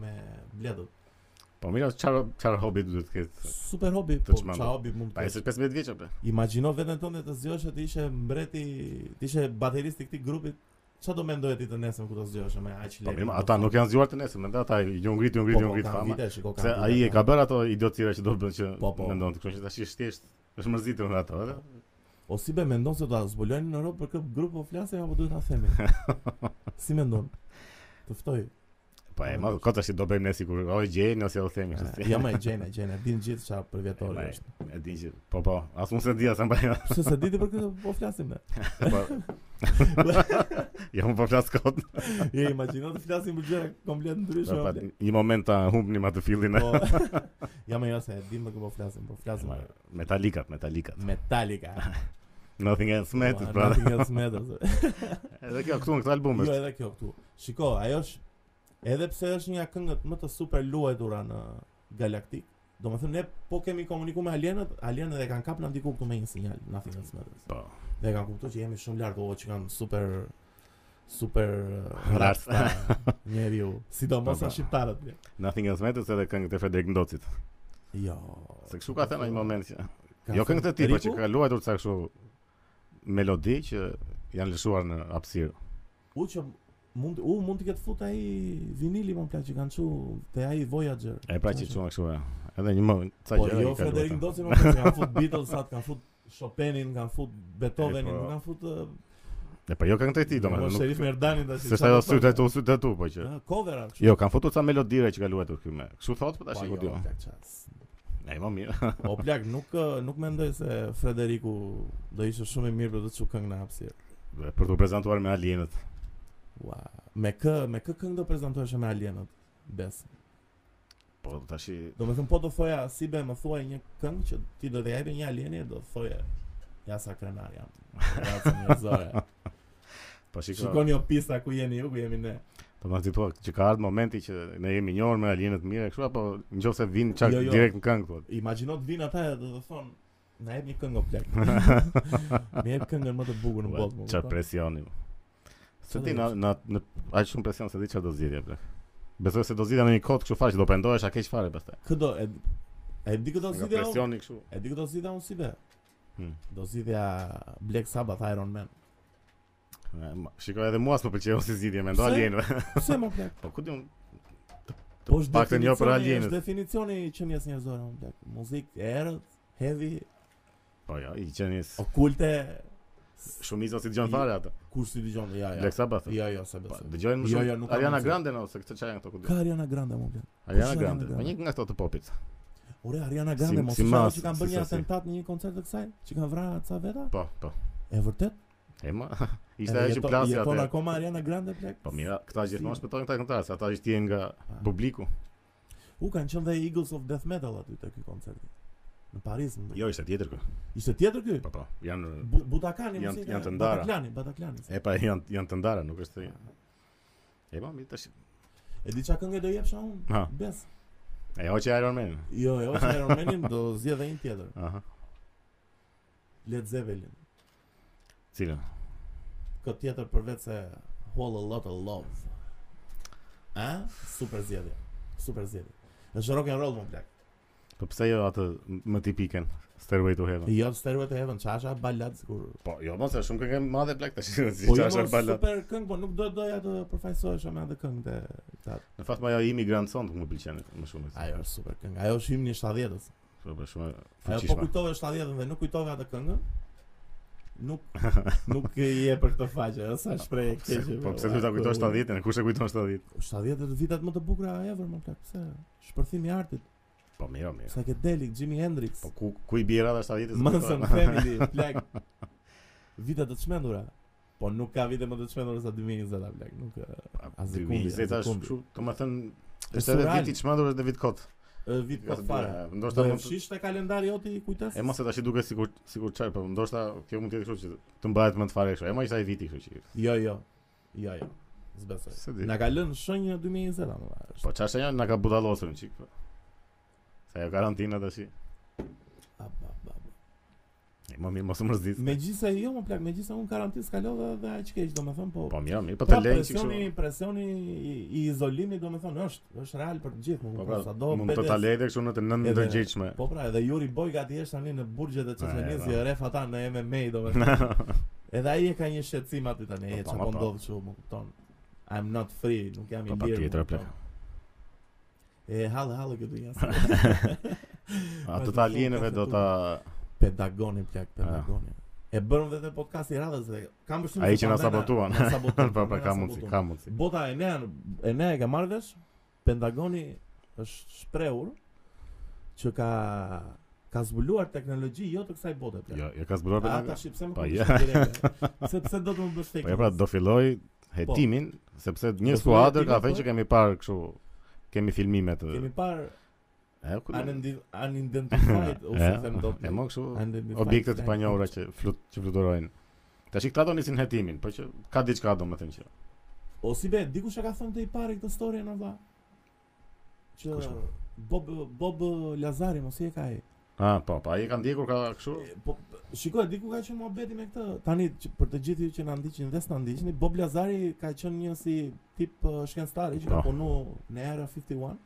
Speaker 2: me bledut.
Speaker 1: Po mira, çfarë çfarë hobi duhet të ketë?
Speaker 2: Super hobi,
Speaker 1: Të
Speaker 2: po
Speaker 1: çmendur.
Speaker 2: çfarë hobi mund
Speaker 1: Pa
Speaker 2: të
Speaker 1: e
Speaker 2: kesh.
Speaker 1: se 15 vjeç apo? Po,
Speaker 2: Imagjino veten tënde të zgjohesh e të ishe mbreti, të ishe bateristi i këtij grupi. Çfarë do mendoje ti të nesër kur do zgjohesh me aq lekë?
Speaker 1: Po mirë, ata nuk janë zgjuar të nesër, mendoj ata ju ngrit, ju
Speaker 2: Po,
Speaker 1: ngrit,
Speaker 2: po,
Speaker 1: ju ngrit
Speaker 2: kanë
Speaker 1: fama.
Speaker 2: vite, shiko, kanë
Speaker 1: Se
Speaker 2: vite, po.
Speaker 1: ai e
Speaker 2: kanë-
Speaker 1: ka bërë ato idiotëra që do bën që
Speaker 2: Po, po.
Speaker 1: mendon, kështu që tash është thjesht është mërzitur nga ato, edhe.
Speaker 2: O si be mendon se do ta zbulojnë në Europë për këtë grup po flasim apo duhet ta themi? si mendon? Të ftoj.
Speaker 1: po e, ma kota si do bëjmë ne sikur o e gjeni ose o themi kështu si.
Speaker 2: Ja më e gjene, gjene, din gjithë çfarë për
Speaker 1: Ma
Speaker 2: vjetori
Speaker 1: e-
Speaker 2: është.
Speaker 1: E di që po po, as unë se dia sa mbaj.
Speaker 2: Pse se diti për këtë po flasim ne.
Speaker 1: Po. Jo, më po flas kot.
Speaker 2: Je imagjino të flasim për gjëra komplet ndryshme.
Speaker 1: Po,
Speaker 2: o blek.
Speaker 1: Një moment ta humbnim atë fillin. e.
Speaker 2: Po. Ja më jose, dim për kë po flasim, po flasim për
Speaker 1: Metalikat, metalikat.
Speaker 2: Metallica.
Speaker 1: Nothing else matters, pra.
Speaker 2: pra. Nothing else matters.
Speaker 1: Edhe kjo këtu në këtë album
Speaker 2: Jo
Speaker 1: është.
Speaker 2: edhe kjo këtu. Shiko, ajo është edhe pse është një nga këngët më të super luajtura në Galaktik. Domethënë ne po kemi komunikuar me alienët, alienët e kanë kap na ndiku këtu me një sinjal, nothing else matters.
Speaker 1: Po.
Speaker 2: Dhe kanë kuptuar që jemi shumë lart, o që kanë super super
Speaker 1: Lart.
Speaker 2: rasta njeriu, sidomos
Speaker 1: Po, po.
Speaker 2: sa shqiptarët. jo. bje.
Speaker 1: Nothing else matters edhe këngët e Frederik Ndocit.
Speaker 2: Jo.
Speaker 1: Se kështu ka thënë në një moment që
Speaker 2: ka
Speaker 1: jo
Speaker 2: thënë
Speaker 1: këngët e tij, por që
Speaker 2: Riku?
Speaker 1: ka luajtur ca kështu melodi që janë lëshuar në hapësirë.
Speaker 2: U që mund u mund të ketë fut ai vinili po më plan që kanë çu te ai Voyager.
Speaker 1: E pra që çon kështu. ja. Edhe një më ca
Speaker 2: Po
Speaker 1: gjëra. që
Speaker 2: jo
Speaker 1: ka
Speaker 2: Frederik
Speaker 1: luajtur.
Speaker 2: Ndoci nuk ka kanë fut Beatlesat, kanë fut Chopinin, kanë fut Beethovenin,
Speaker 1: E, po.
Speaker 2: nuk kanë fut uh,
Speaker 1: E po jo këngët e tij domethënë. nuk-
Speaker 2: Sherif Merdanin tash.
Speaker 1: Se sa do sytë tu, sytë tu, po që.
Speaker 2: Covera kështu.
Speaker 1: Jo, kanë fotur ca melodire që ka luajtur këtu me. Kështu thot po tash
Speaker 2: Po,
Speaker 1: e
Speaker 2: jo,
Speaker 1: kuptoj.
Speaker 2: plak, qas.
Speaker 1: Ai më mirë.
Speaker 2: O plak, nuk uh, nuk mendoj se Frederiku do ishte shumë i mirë për të çu këngë në hapësirë.
Speaker 1: Për t'u prezantuar me alienët.
Speaker 2: Ua, me kë me kë këngë do prezantohesh me Alienët? Bes.
Speaker 1: Po tash i-
Speaker 2: Do me thënë po do thoja si be më thuaj një këngë që ti do të japi një alieni do thoje ja sa krenar jam. Ja sa njerëzore.
Speaker 1: po shikoj.
Speaker 2: Shikoni o pista ku jeni ju, ku jemi ne.
Speaker 1: Po më thua që ka ardhur momenti që ne jemi njohur me alienët mirë kështu apo nëse vin çak
Speaker 2: Jo, jo.
Speaker 1: direkt në këngë po. thot.
Speaker 2: Imagjino të vinë ata e do të thonë na jep një këngë o plak. Më jep këngën më të bukur në botë. më
Speaker 1: Çfarë
Speaker 2: kupton?
Speaker 1: presioni. po. Se
Speaker 2: Çfarë
Speaker 1: ti
Speaker 2: do
Speaker 1: na
Speaker 2: ishte?
Speaker 1: na në aq shumë presion se di çfarë do zgjidhje bla. Besoj se do zgjidhja në një kod kështu faqe do pendohesh a keq fare pastaj.
Speaker 2: Kë do e e di këto
Speaker 1: Nga
Speaker 2: si dhe
Speaker 1: presioni kështu.
Speaker 2: E di këto si dhe unë si be.
Speaker 1: Hmm.
Speaker 2: Do zgjidhja Black Sabbath Iron Man.
Speaker 1: E, ma- Shikoj edhe mua s'më pëlqeu si zgjidhje mendo
Speaker 2: Pse?
Speaker 1: alienëve.
Speaker 2: Pse më plak?
Speaker 1: Po ku di unë
Speaker 2: Po është
Speaker 1: paktën jo për
Speaker 2: definicioni-
Speaker 1: alienët.
Speaker 2: Është definicioni i qenies njerëzore më plak. Muzikë e errët, heavy,
Speaker 1: Po jo, i qenis
Speaker 2: okulte,
Speaker 1: shumica si dëgjojnë fare ato.
Speaker 2: Kur si dëgjon? Ja, ja.
Speaker 1: Black Sabbath.
Speaker 2: Ja, ja, se
Speaker 1: Po,
Speaker 2: besoj.
Speaker 1: dëgjojnë më
Speaker 2: Jo,
Speaker 1: shumë.
Speaker 2: jo, nuk kam
Speaker 1: Ariana
Speaker 2: mundësi.
Speaker 1: Grande no, se këtë çaja këto ku di.
Speaker 2: Ka Ariana Grande më blen.
Speaker 1: Ariana
Speaker 2: kush
Speaker 1: Grande.
Speaker 2: Ariana
Speaker 1: Po një nga ato të popit.
Speaker 2: Ore Ariana Grande
Speaker 1: Si-
Speaker 2: mos
Speaker 1: si
Speaker 2: e shoh
Speaker 1: mas,
Speaker 2: që kanë bërë
Speaker 1: si
Speaker 2: një
Speaker 1: sa si.
Speaker 2: atentat në një koncert të kësaj, që kanë vrarë ca veta?
Speaker 1: Po, po.
Speaker 2: E vërtet?
Speaker 1: E ma, ishte
Speaker 2: Edhe
Speaker 1: ajo që
Speaker 2: jeton-
Speaker 1: plasi
Speaker 2: Jeton
Speaker 1: atë.
Speaker 2: akoma Ariana Grande plak.
Speaker 1: Po mira, këta gjithmonë shpëtojnë këta këngëtarë, se ata që jenë nga
Speaker 2: Ah.
Speaker 1: publiku.
Speaker 2: U kanë qenë dhe Eagles of Death Metal aty te ky koncerti. Në Paris. Më.
Speaker 1: Jo, ishte tjetër kë.
Speaker 2: Ishte Mm. tjetër ky?
Speaker 1: Po po, janë
Speaker 2: Bu- Butakani
Speaker 1: Janë-
Speaker 2: muzika,
Speaker 1: janë të ndara.
Speaker 2: Bataklani, Bataklani.
Speaker 1: e pa janë janë të ndara, nuk është. E ma, mi tash.
Speaker 2: E di çka këngë do jepsha
Speaker 1: Ha.
Speaker 2: unë? Bes.
Speaker 1: E o që Iron Man.
Speaker 2: Jo, jo, se Iron Manin do zgjedhë një tjetër.
Speaker 1: Aha.
Speaker 2: Led Zeppelin.
Speaker 1: Cila?
Speaker 2: Këtë tjetër përveç se Whole a Lot of Love. A? Super zgjedhje. Super zgjedhje. Është rock and roll më plak.
Speaker 1: Po pse jo atë më tipiken Stairway to Heaven?
Speaker 2: Jo Stairway to Heaven, çasha balad sigur.
Speaker 1: Po, jo, mos e shumë këngë madhe plak tash. Si
Speaker 2: Po jo,
Speaker 1: çfarë
Speaker 2: mos,
Speaker 1: bala.
Speaker 2: super këngë, po nuk do doja të përfaqësohesha me atë këngë të këta.
Speaker 1: Në fakt më ajo Immigrant Song më pëlqen më shumë.
Speaker 2: Ajo është super këngë. Ajo është himni i 70-s.
Speaker 1: Po, po, shumë e
Speaker 2: Ajo po
Speaker 1: fuqishme.
Speaker 2: kujtove 70-ën dhe nuk kujtove atë këngën. Nuk nuk e je për këtë faqe, ëh, sa shpreh e keqe.
Speaker 1: Po pse duhet ta kujtosh 70-ën? Kush e kujton 70?
Speaker 2: 70-të vitat më të bukura ever më plak. Pse? Shpërthimi i artit,
Speaker 1: Po mirë, mirë.
Speaker 2: psychedelic, Jimi Hendrix,
Speaker 1: Po ku ku i bie rada 70-s?
Speaker 2: Manson Family, plak. Vita të çmendura. Po nuk ka vite më të çmendura sa 2020 a plak, nuk. ë, as e kumbi, as
Speaker 1: 2020
Speaker 2: e
Speaker 1: tash
Speaker 2: kumbi.
Speaker 1: kështu, domethënë
Speaker 2: Është
Speaker 1: është edhe
Speaker 2: surreal.
Speaker 1: viti i çmendur është edhe vit kot.
Speaker 2: ë, Vit po fare.
Speaker 1: Ja, Ndoshta
Speaker 2: Do e
Speaker 1: mund të-
Speaker 2: fshish te kalendari joti i kujtesës?
Speaker 1: e mos e tash i duket sikur sikur çaj, po ndoshta kjo mund të jetë kështu që të mbahet më të fare kështu. E më ishte ai viti kështu që.
Speaker 2: Jo, jo. Jo, jo. Zbesoj.
Speaker 1: Se di.
Speaker 2: Na ka lënë shenjë 2020 ama.
Speaker 1: Po çfarë janë na ka budallosur një çik. po. Se ajo karantina tash. i- E më mirë mos u mërzit.
Speaker 2: Megjithëse jo, më plak, megjithëse un karantinë s'kalova dhe aq keq, domethënë po.
Speaker 1: Po mirë, mirë, po të
Speaker 2: pra,
Speaker 1: lejnë që
Speaker 2: presioni,
Speaker 1: kështu.
Speaker 2: presioni i, i izolimit domethënë është është real për të gjithë, më
Speaker 1: Po
Speaker 2: kupton,
Speaker 1: pra,
Speaker 2: sado
Speaker 1: mund të ta
Speaker 2: pedes.
Speaker 1: lejë kështu në të nënë
Speaker 2: Edhe-
Speaker 1: ndërgjegjshme.
Speaker 2: Po pra, edhe Yuri Boyka ti është tani në burgjet e
Speaker 1: E,
Speaker 2: Çeçenisë,
Speaker 1: po.
Speaker 2: e ref ata në MMA domethënë. edhe ai e ka një shqetësim aty tani, e
Speaker 1: Po, po, po,
Speaker 2: çka po
Speaker 1: po.
Speaker 2: ndodh kështu, më kupton. I'm not free, nuk jam i
Speaker 1: Po
Speaker 2: lirë.
Speaker 1: patjetër
Speaker 2: më
Speaker 1: plak.
Speaker 2: kupton. E hallë hallë këtu jashtë.
Speaker 1: Ato të alienëve do ta
Speaker 2: Pedagoni plak,
Speaker 1: Ah.
Speaker 2: pedagoni. E bërëm vetë podcast i radhës dhe kam përshtypjen
Speaker 1: Ai
Speaker 2: se
Speaker 1: që na
Speaker 2: pandena-
Speaker 1: sabotuan.
Speaker 2: na sabotuan.
Speaker 1: Po po
Speaker 2: pandena
Speaker 1: ka mundsi,
Speaker 2: sabotuan.
Speaker 1: ka mundsi.
Speaker 2: Bota e ne, e ne e ka marrë vesh Pentagoni është shprehur që ka ka zbuluar teknologji jo të kësaj bote. plak.
Speaker 1: Ja, ja ka zbuluar
Speaker 2: A
Speaker 1: Pentagon.
Speaker 2: tash pse më
Speaker 1: Po,
Speaker 2: kuptosh
Speaker 1: ja.
Speaker 2: direkt? eh? Se pse do të më bësh fake?
Speaker 1: Po ja pra
Speaker 2: news?
Speaker 1: do filloj hetimin, sepse një
Speaker 2: filloj
Speaker 1: skuadër ka
Speaker 2: hetimin,
Speaker 1: thënë
Speaker 2: po.
Speaker 1: që kemi parë kështu kemi filmime të
Speaker 2: kemi parë
Speaker 1: e ku
Speaker 2: unendi- unidentified ose
Speaker 1: E,
Speaker 2: them dot.
Speaker 1: e mo kështu
Speaker 2: unidentified
Speaker 1: objekte të
Speaker 2: flag.
Speaker 1: panjohura që flut që fluturojnë. Tash këta do nisin hetimin, po që ka diçka domethënë që.
Speaker 2: O si be, dikush e ka thënë te i pari këtë story në vlla. Që
Speaker 1: Kush mo?
Speaker 2: Bob Bob Lazari mos i e ka ai.
Speaker 1: Ah, po, po, ai e ka ndjekur ka kështu.
Speaker 2: E, Po shikoj, diku ka qenë muhabeti me këtë. Tani që, për të gjithë ju që na ndiqin dhe s'na ndiqni, Bob Lazari ka qenë një si tip uh, shkencëtar që ka
Speaker 1: Po.
Speaker 2: punu në Era 51.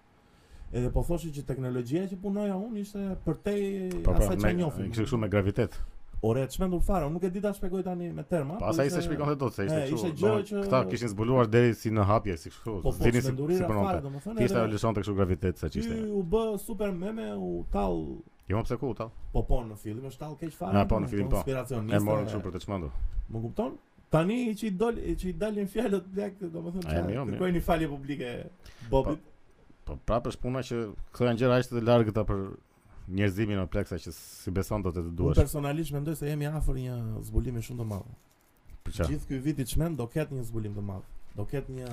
Speaker 2: Edhe po thoshte që teknologjia që punoja unë ishte përtej
Speaker 1: Po, po,
Speaker 2: asaj
Speaker 1: me
Speaker 2: që njohim.
Speaker 1: kështu kështu me gravitet.
Speaker 2: Ore, çmendur fare, unë nuk e di ta shpjegoj tani me terma.
Speaker 1: Po asaj
Speaker 2: ishte-
Speaker 1: se shpjegon dot se ishte
Speaker 2: e, ishte
Speaker 1: kështu.
Speaker 2: gjë
Speaker 1: domethënë,
Speaker 2: që-
Speaker 1: Këta kishin zbuluar deri si në hapje, si kështu.
Speaker 2: Po po,
Speaker 1: zinin si
Speaker 2: çmendurira
Speaker 1: si
Speaker 2: fare,
Speaker 1: punonte.
Speaker 2: domethënë.
Speaker 1: Thjesht ajo
Speaker 2: edhe
Speaker 1: lëshonte kështu gravitet sa
Speaker 2: Ti
Speaker 1: ç'ishte.
Speaker 2: u bë super meme, u tall
Speaker 1: Jo, pse ku ta?
Speaker 2: Po po, në fillim është tall keq fare.
Speaker 1: Na, po, në fillim, po.
Speaker 2: Konspiracioniste.
Speaker 1: E morën kështu për të çmendur.
Speaker 2: Më kupton? Tani që i dol që i dalin fjalët blaq, domethënë
Speaker 1: A,
Speaker 2: çfarë,
Speaker 1: mirë, mirë.
Speaker 2: kërkojnë një falje publike Bobit.
Speaker 1: Po prapë është puna që këto janë gjëra aq të largëta për njerëzimin o plaksa që si beson do të të
Speaker 2: Unë
Speaker 1: duash.
Speaker 2: personalisht mendoj se jemi afër një zbulimi shumë të madh.
Speaker 1: Për çfarë?
Speaker 2: Gjithë ky vit i çmend do ketë një zbulim të madh. Do ketë një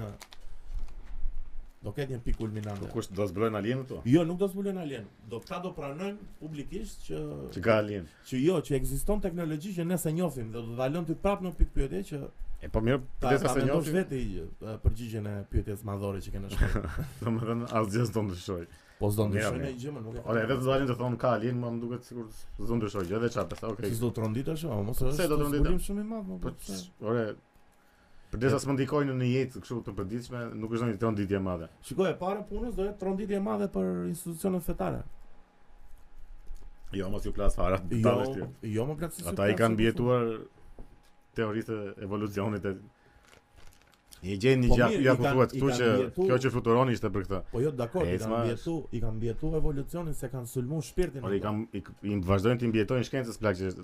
Speaker 2: do ketë një pikë
Speaker 1: Po
Speaker 2: kulminante.
Speaker 1: kush do zbulojnë alienët to?
Speaker 2: Jo, nuk do zbulojnë alien. Do ta do pranojnë publikisht që
Speaker 1: Që ka alien.
Speaker 2: që jo, që ekziston teknologji që ne se njohim dhe do ta lëmë ty prapë në pikë pyetje që
Speaker 1: E po mirë,
Speaker 2: ta,
Speaker 1: përdes
Speaker 2: ta
Speaker 1: se
Speaker 2: mendosh
Speaker 1: njohin.
Speaker 2: pra, veti e, përgjigjen e pyetjes madhore që kanë shkruar.
Speaker 1: Domethënë asgjë s'do ndryshoj.
Speaker 2: Po s'do
Speaker 1: Mirë,
Speaker 2: ndryshoj
Speaker 1: mirë.
Speaker 2: në gjë, më nuk. e-
Speaker 1: Ore, vetëm do alien të thonë ka alien, mua më duket sikur s'do ndryshoj gjë, edhe çfarë, sa okay.
Speaker 2: Si s'do të ronditesh, o mos është.
Speaker 1: Se do të ronditesh?
Speaker 2: zbulim shumë i madh, më
Speaker 1: Po
Speaker 2: pse?
Speaker 1: ç- ore, përdes as më ndikojnë në jetë kështu të përditshme, nuk është ndonjë tronditje e madhe.
Speaker 2: Shikoj, e para punës do jetë ronditje e madhe për institucionet fetare.
Speaker 1: Jo, mos ju plas fara,
Speaker 2: Jo,
Speaker 1: dallesh ti.
Speaker 2: jo më plak si.
Speaker 1: Ata i kanë bjetuar teorisë e evolucionit e I gjenë një
Speaker 2: Po
Speaker 1: gjak,
Speaker 2: mirë,
Speaker 1: ja
Speaker 2: i
Speaker 1: ku
Speaker 2: kanë-
Speaker 1: thuhet
Speaker 2: i
Speaker 1: këtu
Speaker 2: kanë
Speaker 1: që
Speaker 2: mjetu-
Speaker 1: kjo që fluturoni ishte për këtë.
Speaker 2: Po jo, dakor,
Speaker 1: E,
Speaker 2: i kanë
Speaker 1: s'ma-
Speaker 2: bjetu, i kanë bjetu evolucionin se kanë sulmuar shpirtin.
Speaker 1: Por i
Speaker 2: ato.
Speaker 1: kam i, i vazhdojnë të mbjetojnë shkencës plak që është-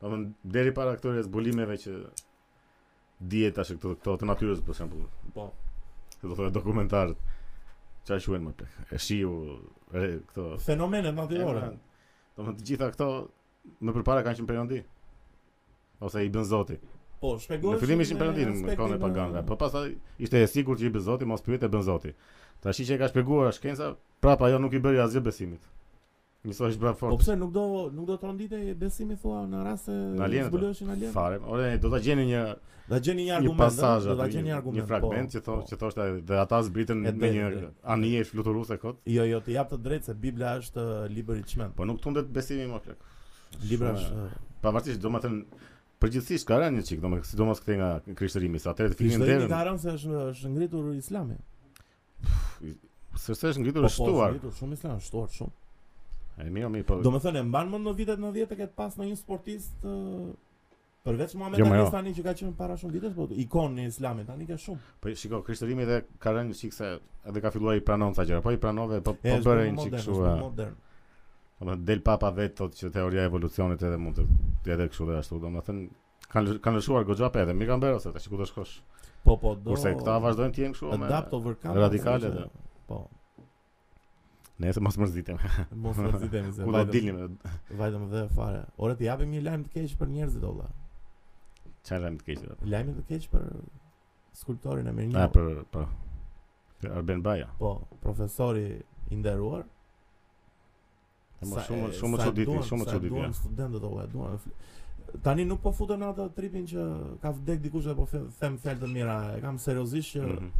Speaker 1: domethënë deri para këtyre zbulimeve që dihet tash këto këto të natyrës për shembull,
Speaker 2: po.
Speaker 1: që do thotë dokumentarët. Çfarë quhen më plak? E shiu re, këto
Speaker 2: Fenomene natyrore.
Speaker 1: Emra, Domethënë të gjitha këto më përpara kanë qenë perëndi. Ose i bën Zoti.
Speaker 2: Po, shpjegoj.
Speaker 1: Në fillim ishin perëndin në kohën e paganëve,
Speaker 2: eh,
Speaker 1: po pastaj ishte e sigurt që i bën Zoti, mos pyet e bën Zoti. Tashi që e ka shpjeguar shkenca, prapa ajo nuk i bëri asgjë besimit. Njësoj është brap
Speaker 2: Po
Speaker 1: fort.
Speaker 2: pse nuk do nuk do të ronditej besimi thua në rast se
Speaker 1: Në alienet, po.
Speaker 2: zbuloheshin alien.
Speaker 1: Fare, ore, do ta gjeni një
Speaker 2: Da gjeni një
Speaker 1: një
Speaker 2: argument, ëh,
Speaker 1: pasazh
Speaker 2: do ta
Speaker 1: aty,
Speaker 2: gjeni një argument.
Speaker 1: një fragment
Speaker 2: po,
Speaker 1: që thonë
Speaker 2: po.
Speaker 1: që thoshte dhe ata zbritën
Speaker 2: E
Speaker 1: me
Speaker 2: drejtë,
Speaker 1: një
Speaker 2: drejtë.
Speaker 1: anije fluturuese kot,
Speaker 2: Jo, jo, të jap të drejtë se Bibla është ë, libër i çmend.
Speaker 1: po nuk tundet besimi më plak.
Speaker 2: Libra
Speaker 1: Shumë
Speaker 2: është
Speaker 1: e-
Speaker 2: ë,
Speaker 1: Pavarësisht domethënë përgjithsisht ka rënë një çik domethënë sidomos këthe nga krishterimi, sa atëherë të filmin
Speaker 2: Krishterimi ka
Speaker 1: derën.
Speaker 2: rënë se është është ngritur Islami.
Speaker 1: Sepse është ngritur
Speaker 2: Po
Speaker 1: është
Speaker 2: po, është
Speaker 1: shtuar.
Speaker 2: ngritur shumë Islam, është shtuar shumë.
Speaker 1: E mirë, mirë, po.
Speaker 2: Domethënë e mban mend në vitet 90 e ket pas ndonjë sportist ë, përveç Muhammed
Speaker 1: Jo,
Speaker 2: jo,
Speaker 1: ma jo.
Speaker 2: Ali tani që ka qenë para shumë vitesh, po ikon i Islamit tani ka shumë.
Speaker 1: Po shiko, krishterimi edhe ka rënë një çik se edhe ka filluar i pranon ca gjëra, po i pranove, po
Speaker 2: E,
Speaker 1: po
Speaker 2: është
Speaker 1: bëre
Speaker 2: bërë
Speaker 1: një çik
Speaker 2: modern,
Speaker 1: kështu.
Speaker 2: është bërë
Speaker 1: e,
Speaker 2: modern.
Speaker 1: Domethënë del papa vetë thotë që teoria e evolucionit edhe mund të të edhe kështu dhe ashtu, domethënë kanë kanë lëshuar goxha edhe mirë kanë bërë ose tash ku do shkosh.
Speaker 2: Po po, do.
Speaker 1: Kurse këta vazhdojnë të jenë kështu me
Speaker 2: adapt overcome.
Speaker 1: radikale
Speaker 2: ose
Speaker 1: dhe-
Speaker 2: që- Po,
Speaker 1: Nëse mos mërzitem.
Speaker 2: mos vazhdojmë se.
Speaker 1: Ku do dilnim?
Speaker 2: Vajtëm dhe fare. Ore të japim një lajm të keq për njerëzit olla.
Speaker 1: Çfarë lajm të keq? do?
Speaker 2: Lajm të keq për skulptorin
Speaker 1: Na
Speaker 2: e Mirnjau.
Speaker 1: për po. Për Arben Baja.
Speaker 2: Po, profesori i nderuar
Speaker 1: E mo
Speaker 2: Sa-
Speaker 1: shumë
Speaker 2: e,
Speaker 1: shumë
Speaker 2: sa
Speaker 1: çuditje,
Speaker 2: duan-
Speaker 1: shumë
Speaker 2: sa
Speaker 1: çuditje.
Speaker 2: Duan studentët o vëlla, duan. Tani nuk po futen në atë tripin që ka vdek dikush dhe po fe- them fjalë të mira. E kam seriozisht që
Speaker 1: Mhm.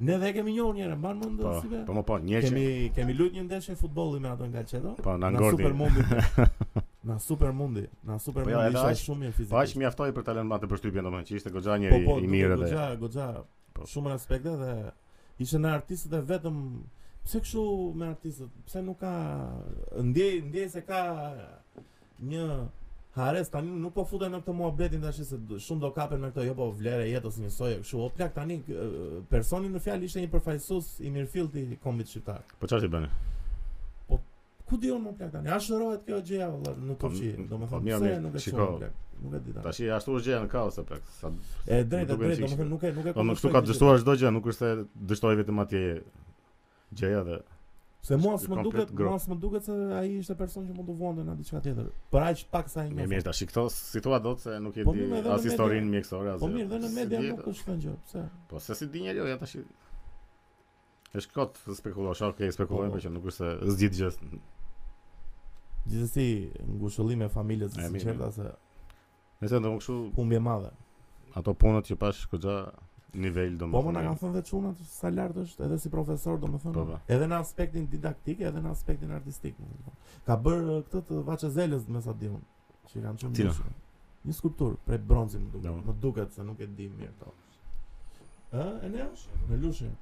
Speaker 2: ne dhe e kemi njohur një herë, mban mend
Speaker 1: Po,
Speaker 2: si be.
Speaker 1: po më po, njerëz që
Speaker 2: Kemi kemi luajtur një ndeshje futbolli me ato nga Çedo.
Speaker 1: po na
Speaker 2: Na
Speaker 1: ngordi.
Speaker 2: super mundi. Na super mundi. Na super
Speaker 1: Po jo,
Speaker 2: mundi
Speaker 1: edhe
Speaker 2: ishte
Speaker 1: aq-
Speaker 2: shumë mirë
Speaker 1: Po aq
Speaker 2: fizikisht.
Speaker 1: mjaftoi për ta lënë matë përshtypjen domethënë që ishte goxha
Speaker 2: Po
Speaker 1: njëri
Speaker 2: po,
Speaker 1: i
Speaker 2: duke
Speaker 1: mirë edhe
Speaker 2: goxha, goxha.
Speaker 1: Po.
Speaker 2: Shumë respekte dhe ishte në artistët e vetëm Pse kështu me artistët? Pse nuk ka ndjej ndjej se ka një hares tani nuk po futen në këtë muhabetin tash se d- shumë do kapen me këto jo po vlera e jetës njësoj e kështu. O plak tani k- ë, personi në fjalë ishte një përfaqësues i mirëfillt i kombit shqiptar.
Speaker 1: Po çfarë i bënë?
Speaker 2: Ku diun më plak tani? A shërohet kjo gjëja valla në
Speaker 1: Po,
Speaker 2: Turqi?
Speaker 1: m- po,
Speaker 2: Domethënë
Speaker 1: mirë,
Speaker 2: pse
Speaker 1: mirë,
Speaker 2: nuk e
Speaker 1: shiko.
Speaker 2: shoh plak? Nuk e di tani.
Speaker 1: Tash i ashtu është gjëja në kaos apo plak. Sa
Speaker 2: E drejtë,
Speaker 1: nuk
Speaker 2: e
Speaker 1: duket
Speaker 2: drejtë,
Speaker 1: fikse.
Speaker 2: domethënë nuk e nuk e
Speaker 1: Po më
Speaker 2: kuptoj
Speaker 1: këtu ka
Speaker 2: këtë gjë.
Speaker 1: dështuar çdo gjë, nuk është se dështoi vetëm atje Gjeja dhe
Speaker 2: Se mua s'më
Speaker 1: Komplet
Speaker 2: duket,
Speaker 1: gro.
Speaker 2: mua s'më duket se ai ishte person që mund të vonte në diçka tjetër. Për aq pak sa ai
Speaker 1: Mirë, mirë,
Speaker 2: njoh.
Speaker 1: tash këto situatë do të se nuk e
Speaker 2: Po
Speaker 1: di
Speaker 2: mirë, edhe në
Speaker 1: as
Speaker 2: media-
Speaker 1: historinë mjekësore as.
Speaker 2: Po
Speaker 1: gjë.
Speaker 2: mirë, dhe në
Speaker 1: Si
Speaker 2: media
Speaker 1: di,
Speaker 2: nuk është kanë gjë, pse?
Speaker 1: Po se si di njeriu, ja tash. i- Është kot të spekulosh, okay, spekuloj,
Speaker 2: Po.
Speaker 1: por që nuk është se zgjidh gjë.
Speaker 2: Gjithsesi, ngushëllim e familjes
Speaker 1: E,
Speaker 2: së
Speaker 1: mirë,
Speaker 2: sinqerta se
Speaker 1: Nëse do kështu
Speaker 2: humbje madhe.
Speaker 1: ato punët që pash goxha nivel domethënë.
Speaker 2: Po më na kanë thënë vetë çunat sa lart është edhe si profesor
Speaker 1: Po,
Speaker 2: domethënë.
Speaker 1: po.
Speaker 2: Edhe në aspektin didaktik, edhe në aspektin artistik. më thënë. Ka bërë uh, këtë të Vaçezelës me sa diun, që i kanë
Speaker 1: Cila?
Speaker 2: çuar. Një skulptur prej bronzi më duket.
Speaker 1: Do.
Speaker 2: Më duket se nuk e di mirë to. Ë, e ne? Në Lushin.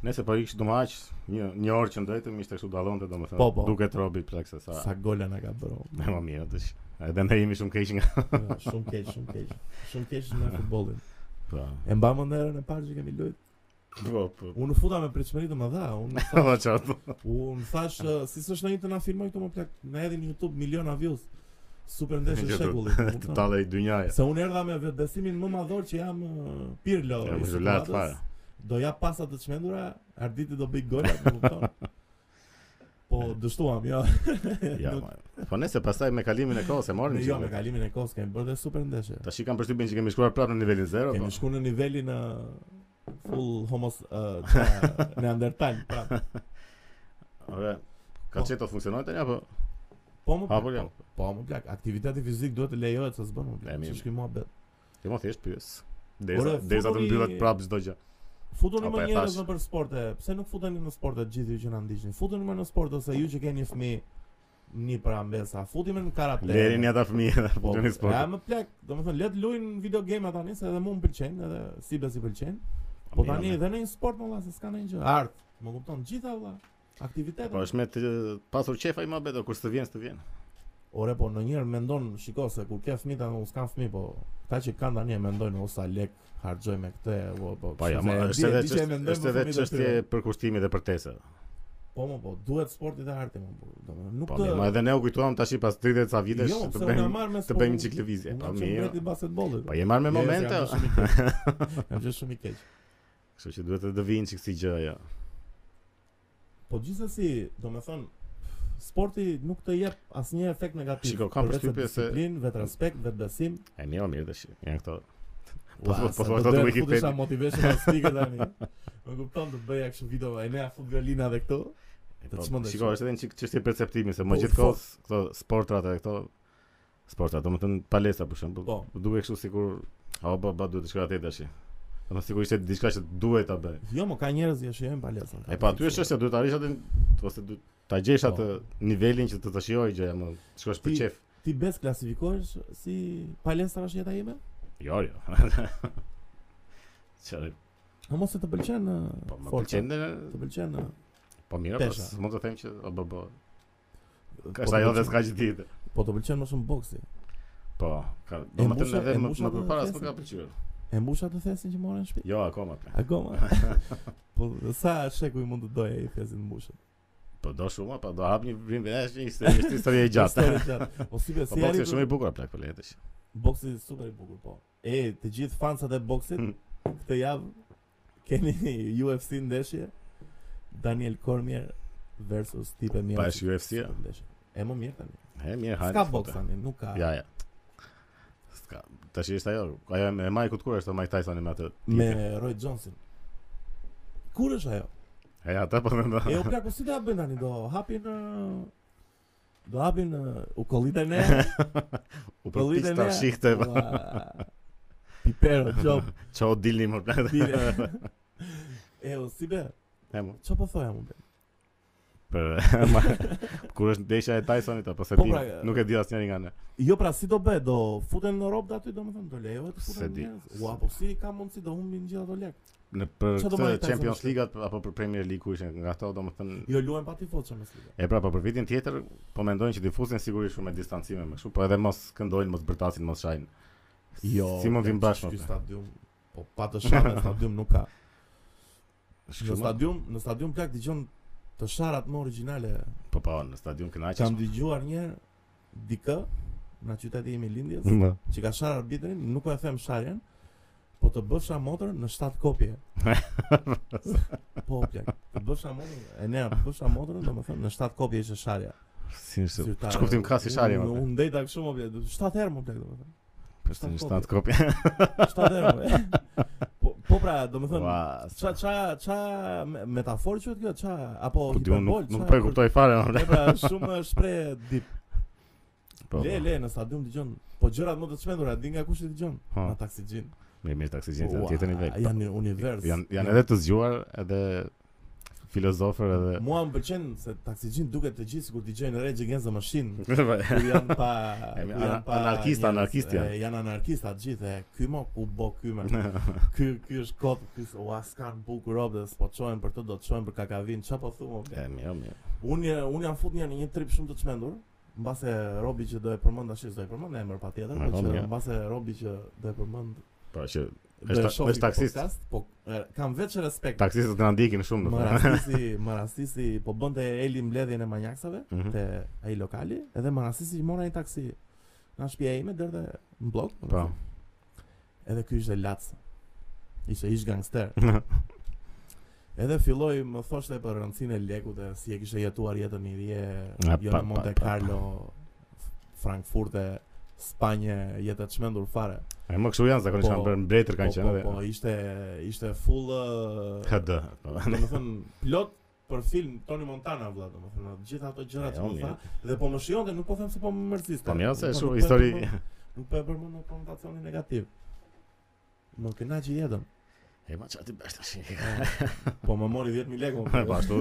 Speaker 1: Nëse po iksh domo aq një një orë që ndajtëm ishte kështu dallonte domethënë.
Speaker 2: Po, po.
Speaker 1: Duket robi plak se sa.
Speaker 2: Sa gola na ka bërë. o.
Speaker 1: Ne më mirë tash. Edhe ne jemi shumë keq nga.
Speaker 2: Ja, shumë keq, shumë keq. Shumë keq në futbollin.
Speaker 1: Po.
Speaker 2: E mba më ndërën e parë që kemi lojt.
Speaker 1: Po, po.
Speaker 2: Unë futa me pritshmëri të më dha, unë
Speaker 1: Po çfarë?
Speaker 2: unë thash ë, si s'është ndonjë të na filmoj këtu më plak, na hedhin në YouTube miliona views. Super ndeshje
Speaker 1: Gjithë,
Speaker 2: shekulli.
Speaker 1: Të tallej dynjaja.
Speaker 2: Se unë erdha me vetbesimin më madhor që jam ë, Pirlo.
Speaker 1: Ja,
Speaker 2: i
Speaker 1: më zhulat
Speaker 2: situatës.
Speaker 1: fare.
Speaker 2: Do ja pasa të çmendura, Arditi do bëj gola, më kupton. Po dështuam, jo.
Speaker 1: Ja.
Speaker 2: Nuk-
Speaker 1: ma- Po nëse pastaj me kalimin e kohës e morëm.
Speaker 2: Jo,
Speaker 1: që-
Speaker 2: me kalimin e kohës kemi bërë dhe super ndeshje.
Speaker 1: Tash i kam përshtypjen që kemi shkuar prapë në nivelin 0, po.
Speaker 2: Kemi shku në nivelin në full homos uh, qa, neandertal, pra.
Speaker 1: Ore, ka
Speaker 2: Po.
Speaker 1: çeto funksionon tani apo?
Speaker 2: Po më
Speaker 1: Apo jo.
Speaker 2: plak, po, po më plak, aktiviteti fizik duhet të lejohet se s'bën më
Speaker 1: E,
Speaker 2: plak,
Speaker 1: mirë.
Speaker 2: që shkoj mua bet.
Speaker 1: Ti më thjesht pyes.
Speaker 2: Ore,
Speaker 1: Derisa derisa të
Speaker 2: futbolli-
Speaker 1: mbyllet prapë çdo gjë.
Speaker 2: Futuni
Speaker 1: Apo
Speaker 2: më
Speaker 1: e
Speaker 2: njerëz
Speaker 1: thash.
Speaker 2: më për sporte, pse nuk futeni në sporte gjithë ju që na ndiqni? Futuni më në sport ose ju që keni fëmijë një para mbesa, futimi në karate.
Speaker 1: Lerin ja ta fëmijë dhe po tani
Speaker 2: Ja
Speaker 1: sport.
Speaker 2: më plak, domethënë le të luajnë video game tani se edhe mua më pëlqejnë, edhe si besi pëlqejn. Po tani edhe në një sport më valla se s'ka ndonjë gjë. Art, më kupton gjitha valla. Aktivitete.
Speaker 1: Po është me të pasur qefa i më beto kur të vjen, të vjen.
Speaker 2: Ore po në njërë mendon, shiko se kur ke fëmijë tani unë s'kam fëmijë, po këta që kanë tani e mendojnë o sa lek harxoj me këtë, po po.
Speaker 1: Po ja,
Speaker 2: kështu
Speaker 1: ma,
Speaker 2: se e
Speaker 1: është
Speaker 2: di-
Speaker 1: edhe
Speaker 2: e di që e
Speaker 1: çështje
Speaker 2: mendojnë
Speaker 1: është
Speaker 2: për
Speaker 1: edhe
Speaker 2: fëmijët e
Speaker 1: çështje
Speaker 2: tyre.
Speaker 1: për kushtimit dhe për tesa.
Speaker 2: Po mo, po, duhet sporti dhe arti mo, po. Domethënë nuk
Speaker 1: Po mirë, ma edhe ne u kujtuam tash pas 30 ca vitesh
Speaker 2: jo,
Speaker 1: të
Speaker 2: pse unë e
Speaker 1: bëjmë
Speaker 2: marr me
Speaker 1: të
Speaker 2: sport-
Speaker 1: bëjmë një çik lëvizje.
Speaker 2: unë
Speaker 1: Po
Speaker 2: jam që
Speaker 1: mirë.
Speaker 2: mbreti i basketbollit.
Speaker 1: Po je marrë me
Speaker 2: Jo, se
Speaker 1: momente,
Speaker 2: jam
Speaker 1: o.
Speaker 2: që shumë i keq. Jam që shumë i keq.
Speaker 1: kështu që duhet të dëvijin çik si gjë ajo.
Speaker 2: Po gjithsesi, domethënë sporti nuk të jep asnjë efekt negativ.
Speaker 1: Shiko, kam
Speaker 2: përveç se
Speaker 1: përshtypje se-
Speaker 2: disiplinë, vetrespekt, vetbesim.
Speaker 1: E mirë, o mirë tash. Janë këto. Po,
Speaker 2: Ua,
Speaker 1: po, po,
Speaker 2: sa
Speaker 1: po,
Speaker 2: do
Speaker 1: ato të
Speaker 2: doja
Speaker 1: Wikipedia.
Speaker 2: futesha motivational speaker tani. Më kupton të bëja kështu video, e nea fut violina dhe këto. Të
Speaker 1: Po,
Speaker 2: çmendesh.
Speaker 1: Shiko, është edhe një çik çështje perceptimi, se më
Speaker 2: Po,
Speaker 1: gjithkohës këto sportrat e këto sportrat, domethënë palestra për shembull,
Speaker 2: Po.
Speaker 1: po duhet kështu sikur a ba ba duhet të shkoj atë tash. Domethënë sikur ishte diçka që duhet ta bëj.
Speaker 2: Jo, më ka njerëz që shijojnë palestrën.
Speaker 1: E pa, aty është çështja, duhet ta arrish atë ose duhet ta gjesh
Speaker 2: Po.
Speaker 1: atë nivelin që të të shijoj gjëja, më të shkosh për
Speaker 2: Ti-
Speaker 1: qef.
Speaker 2: Ti bes klasifikohesh si palestra është jeta ime?
Speaker 1: Jo, jo. Çfarë?
Speaker 2: A mos e të pëlqen ë,
Speaker 1: Po më
Speaker 2: forca?
Speaker 1: pëlqen,
Speaker 2: Të pëlqen ë,
Speaker 1: po mirë, po
Speaker 2: Pesha.
Speaker 1: mund të them që o ba ba. Ka
Speaker 2: po
Speaker 1: sa
Speaker 2: të
Speaker 1: jo dhe
Speaker 2: pëlqen-
Speaker 1: s'ka gjë tjetër.
Speaker 2: Po të pëlqen më shumë boksi.
Speaker 1: Po, ka,
Speaker 2: mbusha-
Speaker 1: domethënë edhe
Speaker 2: e
Speaker 1: më
Speaker 2: mbusha
Speaker 1: më
Speaker 2: të
Speaker 1: përpara
Speaker 2: fesën.
Speaker 1: s'më ka pëlqyer.
Speaker 2: E mbusha të thesin që morën në shtëpi?
Speaker 1: Jo, akoma. pra.
Speaker 2: Akoma. po sa sheku i mund të doje i thesin mbushën.
Speaker 1: Po do shumë, po do hap një vrim dhe është një histori, është histori e gjatë.
Speaker 2: Histori gjatë. O si be,
Speaker 1: Po boksi
Speaker 2: si jani
Speaker 1: është shumë i bukur plak po letesh.
Speaker 2: boksi është super i bukur po. E, të gjithë fansat e boksit
Speaker 1: Hmm.
Speaker 2: këtë javë keni UFC ndeshje Daniel Cormier versus Stipe Miocic.
Speaker 1: Pa është UFC-ja.
Speaker 2: Super ndeshje. E më mirë tani.
Speaker 1: He mirë, hajde.
Speaker 2: Ska
Speaker 1: s'fote.
Speaker 2: boks tani, nuk ka.
Speaker 1: Ja, ja. Ska. Tash është ajo, ajo me Mike kur është o Mike Tyson me atë.
Speaker 2: Me Roy Johnson. Kur është ajo?
Speaker 1: E ata po mendon.
Speaker 2: E u plak, po si do ta bëjnë tani do hapin ë, do hapin ë, u kollitën e
Speaker 1: U
Speaker 2: kollitën
Speaker 1: përpis ta shihte. po.
Speaker 2: Pipero job.
Speaker 1: Ço dilni më plak.
Speaker 2: Dire. E o si be,
Speaker 1: E mo.
Speaker 2: çfarë po thoja unë? be?
Speaker 1: Për kur është ndeshja e Tysonit apo se
Speaker 2: Po,
Speaker 1: di,
Speaker 2: pra,
Speaker 1: nuk e di asnjëri nga ne.
Speaker 2: Jo pra si do bëhet, do futen në rob aty domethënë do lejohet të
Speaker 1: Se
Speaker 2: futen
Speaker 1: di.
Speaker 2: njerëz. Ua, po si ka mundsi do humbin gjithë ato lek.
Speaker 1: Në për
Speaker 2: Ço do
Speaker 1: këtë
Speaker 2: bëj Tyson
Speaker 1: Champions
Speaker 2: është?
Speaker 1: League-at apo për Premier League ku ishin nga ato domethënë
Speaker 2: Jo luajnë pa tifozë me sliga.
Speaker 1: E pra, po për vitin tjetër, po mendojnë që difuzin sigurisht shumë me distancime më kështu, po edhe mos këndojnë, mos bërtasin, mos shajnë. Jo, si mund vim bashkë.
Speaker 2: Ky
Speaker 1: mo,
Speaker 2: stadium, po pa të shara në stadium nuk ka.
Speaker 1: pra?
Speaker 2: Në
Speaker 1: Shumë,
Speaker 2: stadium, në stadium plak dëgjon të sharat më origjinale.
Speaker 1: po po, në stadion kënaqesh.
Speaker 2: Kam dëgjuar një herë dikë në qytetin im i lindjes
Speaker 1: Më.
Speaker 2: që ka shar arbitrin, nuk po e them sharjen, po të bëfsha motor në 7 kopje. po, plak. Të bëfsha motor, e ne të bëfsha motor, domethënë në 7 kopje ishte sharja.
Speaker 1: Si është?
Speaker 2: Zyrtare.
Speaker 1: Çkuptim ka si sharje
Speaker 2: Unë
Speaker 1: më.
Speaker 2: unë ndej tak shumë blet, 7 herë më blet domethënë.
Speaker 1: Për
Speaker 2: shtatë
Speaker 1: 7 kopje.
Speaker 2: 7 herë. mo. Po po pra, domethënë
Speaker 1: Ua,
Speaker 2: ça ça ça metaforë quhet kjo, ça apo
Speaker 1: Po di unë
Speaker 2: hiperbol.
Speaker 1: nuk nuk
Speaker 2: ça-
Speaker 1: po e kuptoj fare.
Speaker 2: Po,
Speaker 1: ore.
Speaker 2: Pra, shumë shpreh dip.
Speaker 1: Po.
Speaker 2: Le le në stadium dëgjon. Po gjërat më të çmendura di nga kush i dëgjon?
Speaker 1: Ha.
Speaker 2: Nga taksixhin.
Speaker 1: Me mirë taksigjent
Speaker 2: Ua,
Speaker 1: në Po. tjetër nivel.
Speaker 2: Janë në univers.
Speaker 1: Janë janë edhe të zgjuar, edhe filozofër edhe
Speaker 2: Mua më pëlqen se taksixhin duket të gjithë sikur dëgjojnë Rage Against the Machine.
Speaker 1: Po,
Speaker 2: Kur janë pa
Speaker 1: E,
Speaker 2: kur
Speaker 1: ana-
Speaker 2: janë pa
Speaker 1: anarkist,
Speaker 2: njerëz,
Speaker 1: anarkist janë.
Speaker 2: e, Janë anarkista të gjithë. e, Ky mo ku bo ky më. Ky ky është kot, ky s- ua s'kan bukur robës, po çojnë për të do të çojnë për kakavin. Ç'a po thuam?
Speaker 1: E mirë, jo, mirë.
Speaker 2: Unë unë jam fut një në një trip shumë të çmendur. Mbase Robi që do e përmend tash do e përmend emër patjetër,
Speaker 1: E,
Speaker 2: po
Speaker 1: Robi,
Speaker 2: që
Speaker 1: ja.
Speaker 2: mbase Robi që do e përmend
Speaker 1: Po që
Speaker 2: do
Speaker 1: Është
Speaker 2: e
Speaker 1: ta-
Speaker 2: shohim
Speaker 1: është taksist.
Speaker 2: podcast, po e, kam veç respekt.
Speaker 1: taksistët na ndiqin shumë
Speaker 2: Më
Speaker 1: domethënë.
Speaker 2: rastisi, më rastisi, po bënte Eli mbledhjen e manjaksave
Speaker 1: Mhm.
Speaker 2: te ai lokali, edhe më rastisi mora një taksi nga shtëpia ime deri te në blok. më
Speaker 1: Po.
Speaker 2: thënë. Edhe ky ishte lac. Ishte ish gangster. Edhe filloi më thoshte për rëndësinë e lekut, e si e kishte jetuar jetën i dje,
Speaker 1: A,
Speaker 2: jo
Speaker 1: pa,
Speaker 2: në
Speaker 1: pa,
Speaker 2: Monte
Speaker 1: pa, pa.
Speaker 2: Carlo, Frankfurte, Spanjë, jetë të çmendur fare.
Speaker 1: E më kështu janë zakonisht
Speaker 2: Po,
Speaker 1: janë për mbretër
Speaker 2: Po,
Speaker 1: kanë qenë.
Speaker 2: po,
Speaker 1: edhe.
Speaker 2: po, jo. ishte ishte full ë,
Speaker 1: HD. po.
Speaker 2: do të thon plot për film Tony Montana vëlla, do të thon gjithë ato gjëra
Speaker 1: E,
Speaker 2: që
Speaker 1: o,
Speaker 2: më tha
Speaker 1: mirë.
Speaker 2: dhe po më shijonte, nuk po them se po më mërziste.
Speaker 1: Po mirë, se
Speaker 2: Nuk po-
Speaker 1: shu,
Speaker 2: nuk po e
Speaker 1: histori-
Speaker 2: përmend- Nuk po e përmend në konotacionin negativ. Më kënaqi jetën.
Speaker 1: E ma çati bash tash.
Speaker 2: Po më mori 10000 lekë. më-
Speaker 1: Po ashtu,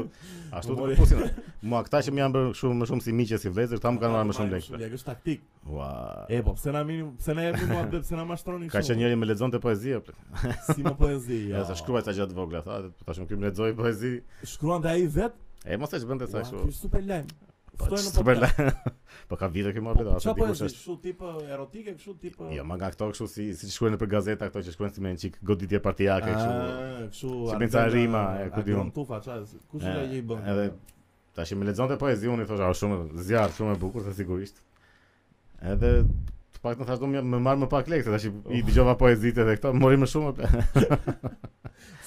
Speaker 1: ashtu të
Speaker 2: Po, mori.
Speaker 1: kupusin. Mua këta që më janë bërë shumë më shumë si miqe si vëllezër, ta po më kanë marrë më shumë lekë.
Speaker 2: Lekë është taktik.
Speaker 1: Ua.
Speaker 2: E po, pse na mini, pse na jepni mua atë, pse na mashtroni
Speaker 1: Ka qenë
Speaker 2: shumë.
Speaker 1: njëri më lexonte poezi apo?
Speaker 2: si më poezi.
Speaker 1: Ja,
Speaker 2: Jo.
Speaker 1: sa shkruaj sa gjatë vogla, tha, tash më ky më lexoi poezi.
Speaker 2: Shkruante ai vet.
Speaker 1: E mos e çbën të sa
Speaker 2: Ua,
Speaker 1: kështu.
Speaker 2: ky është super lajm.
Speaker 1: Po
Speaker 2: Ftojnë në
Speaker 1: super
Speaker 2: podcast.
Speaker 1: Po ka vite që
Speaker 2: Po,
Speaker 1: marrë
Speaker 2: Çfarë
Speaker 1: vetë, dikush
Speaker 2: poezi?
Speaker 1: është.
Speaker 2: Kështu tip erotike, kështu tip
Speaker 1: Jo, ma nga këto kështu si si shkruajnë nëpër gazeta këto që shkruajnë si me një çik goditje partijake
Speaker 2: Ah.
Speaker 1: kështu.
Speaker 2: kështu.
Speaker 1: Si
Speaker 2: Argan-
Speaker 1: pensa rima, e, ku di
Speaker 2: Argan
Speaker 1: unë.
Speaker 2: Tufa, çfarë? Kush
Speaker 1: E,
Speaker 2: do i bën?
Speaker 1: Edhe tash më lexonte poezi unë i thosha, "O, shumë zjarr, shumë e bukur, se sigurisht." Edhe të paktën thash do më më marr më pak lekë, se tash i-
Speaker 2: Oh.
Speaker 1: i dëgjova poezitë edhe këto, mori më shumë.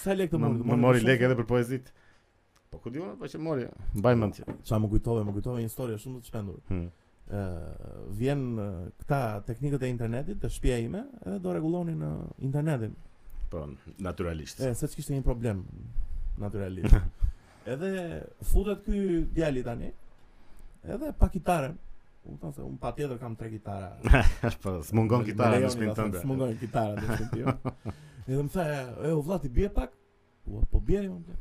Speaker 2: sa lekë të
Speaker 1: Më,
Speaker 2: mori?
Speaker 1: më mori lekë edhe për poezitë. Po ku di unë, po që mori, mbaj mend që.
Speaker 2: Çfarë më kujtove, më kujtove një histori shumë të çmendur.
Speaker 1: Hmm.
Speaker 2: Ë, vjen ë, këta teknikët e internetit te shtëpia ime, edhe do rregullonin ë, internetin.
Speaker 1: Po, natyralisht.
Speaker 2: E, se që kishte një problem, naturalisht. edhe futet ky djali tani, edhe pa kitaren. Unë thon se unë pa tjetër kam tre kitara.
Speaker 1: po, s'mungon
Speaker 2: Me- me
Speaker 1: kitara në
Speaker 2: Leonin,
Speaker 1: shpinë
Speaker 2: ta thon,
Speaker 1: tënde.
Speaker 2: S'mungon kitara në shpinë time. edhe më tha, e o vlla ti bie pak? Ua, po bjeri më bler.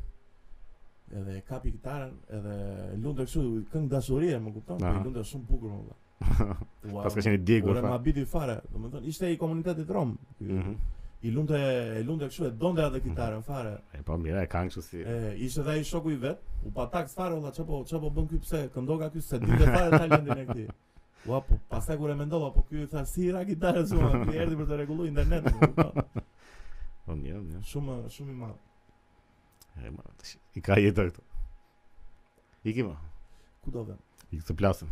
Speaker 2: Edhe e kapi kitarën, edhe lunde kështu këngë dashurie, më kupton? Po
Speaker 1: Aha.
Speaker 2: i lunde shumë bukur më vlla. Ua,
Speaker 1: Pas ka qenë i djegur.
Speaker 2: ure
Speaker 1: fa.
Speaker 2: ma biti fare, do më thënë, ishte i komunitetit Rom, ky.
Speaker 1: Mhm.
Speaker 2: i lunde, i lunde kështu e donde atë kitarën fare,
Speaker 1: E po mirë, e kanë kështu si.
Speaker 2: E, ishte dhe ai shoku i vet, u pa taks fare olla çapo çapo po bën ky pse, këndoga ky se ditë fare talentin e këtij. Ua po, pastaj kur e mendova, po ky tha si ra gitarën shumë, ky erdhi për të rregulluar internetin. e kupton?
Speaker 1: Po mirë, mirë.
Speaker 2: Shumë shumë i madh.
Speaker 1: E ma, tash, i ka jetë këtu. Iki ma,
Speaker 2: Ku do vëm?
Speaker 1: i këtë plasëm.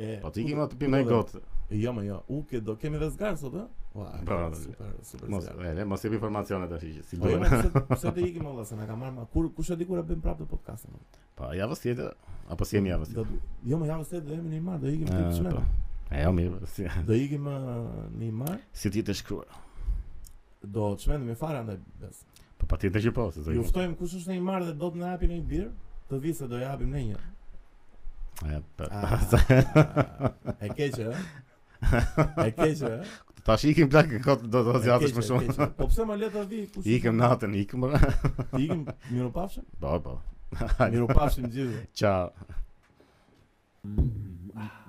Speaker 2: E,
Speaker 1: Po
Speaker 2: ku
Speaker 1: ti iki ma
Speaker 2: do-
Speaker 1: të
Speaker 2: ku
Speaker 1: pimë
Speaker 2: do
Speaker 1: një
Speaker 2: vëm?
Speaker 1: gotë.
Speaker 2: Jo, më jo. U ke do kemi dhe zgar sot, ë? Ua,
Speaker 1: Po,
Speaker 2: super, super.
Speaker 1: Mos,
Speaker 2: zgar.
Speaker 1: e, le, mos jep informacione tash që si
Speaker 2: Po jo,
Speaker 1: duhet.
Speaker 2: ma, pse pse të ikim olla se na ka marrë ma. Kur kush e di kur e bëjmë prapë të podcastin? olla?
Speaker 1: Po javës tjetër apo si jemi javës
Speaker 2: Do
Speaker 1: tjetër?
Speaker 2: du- Jo, më javës tjetër do jemi në Imar, do ikim ti
Speaker 1: Eh,
Speaker 2: çmen.
Speaker 1: po. E jo mirë, po, si
Speaker 2: Do ikim ë, në Imar,
Speaker 1: si ti të shkruar.
Speaker 2: do çmendemi fare andaj bes.
Speaker 1: Po patjetër që po, se do.
Speaker 2: Ju
Speaker 1: ikim.
Speaker 2: ftojmë kush është në i marrë dhe do të na hapi në një birë, të vi se do japim ne një.
Speaker 1: E, po.
Speaker 2: Ah, e keqe, ë? E keqe, ë?
Speaker 1: Tash ikim plak kot do
Speaker 2: E
Speaker 1: të zgjatesh
Speaker 2: keqe,
Speaker 1: Po, më
Speaker 2: e
Speaker 1: shumë.
Speaker 2: keqe. Po pse më le të vi kush?
Speaker 1: Ikëm natën, ikëm. ora.
Speaker 2: Ikim mirupafshim?
Speaker 1: Po, po.
Speaker 2: Mirupafshim gjithë.
Speaker 1: Ciao.
Speaker 3: Mm, ah.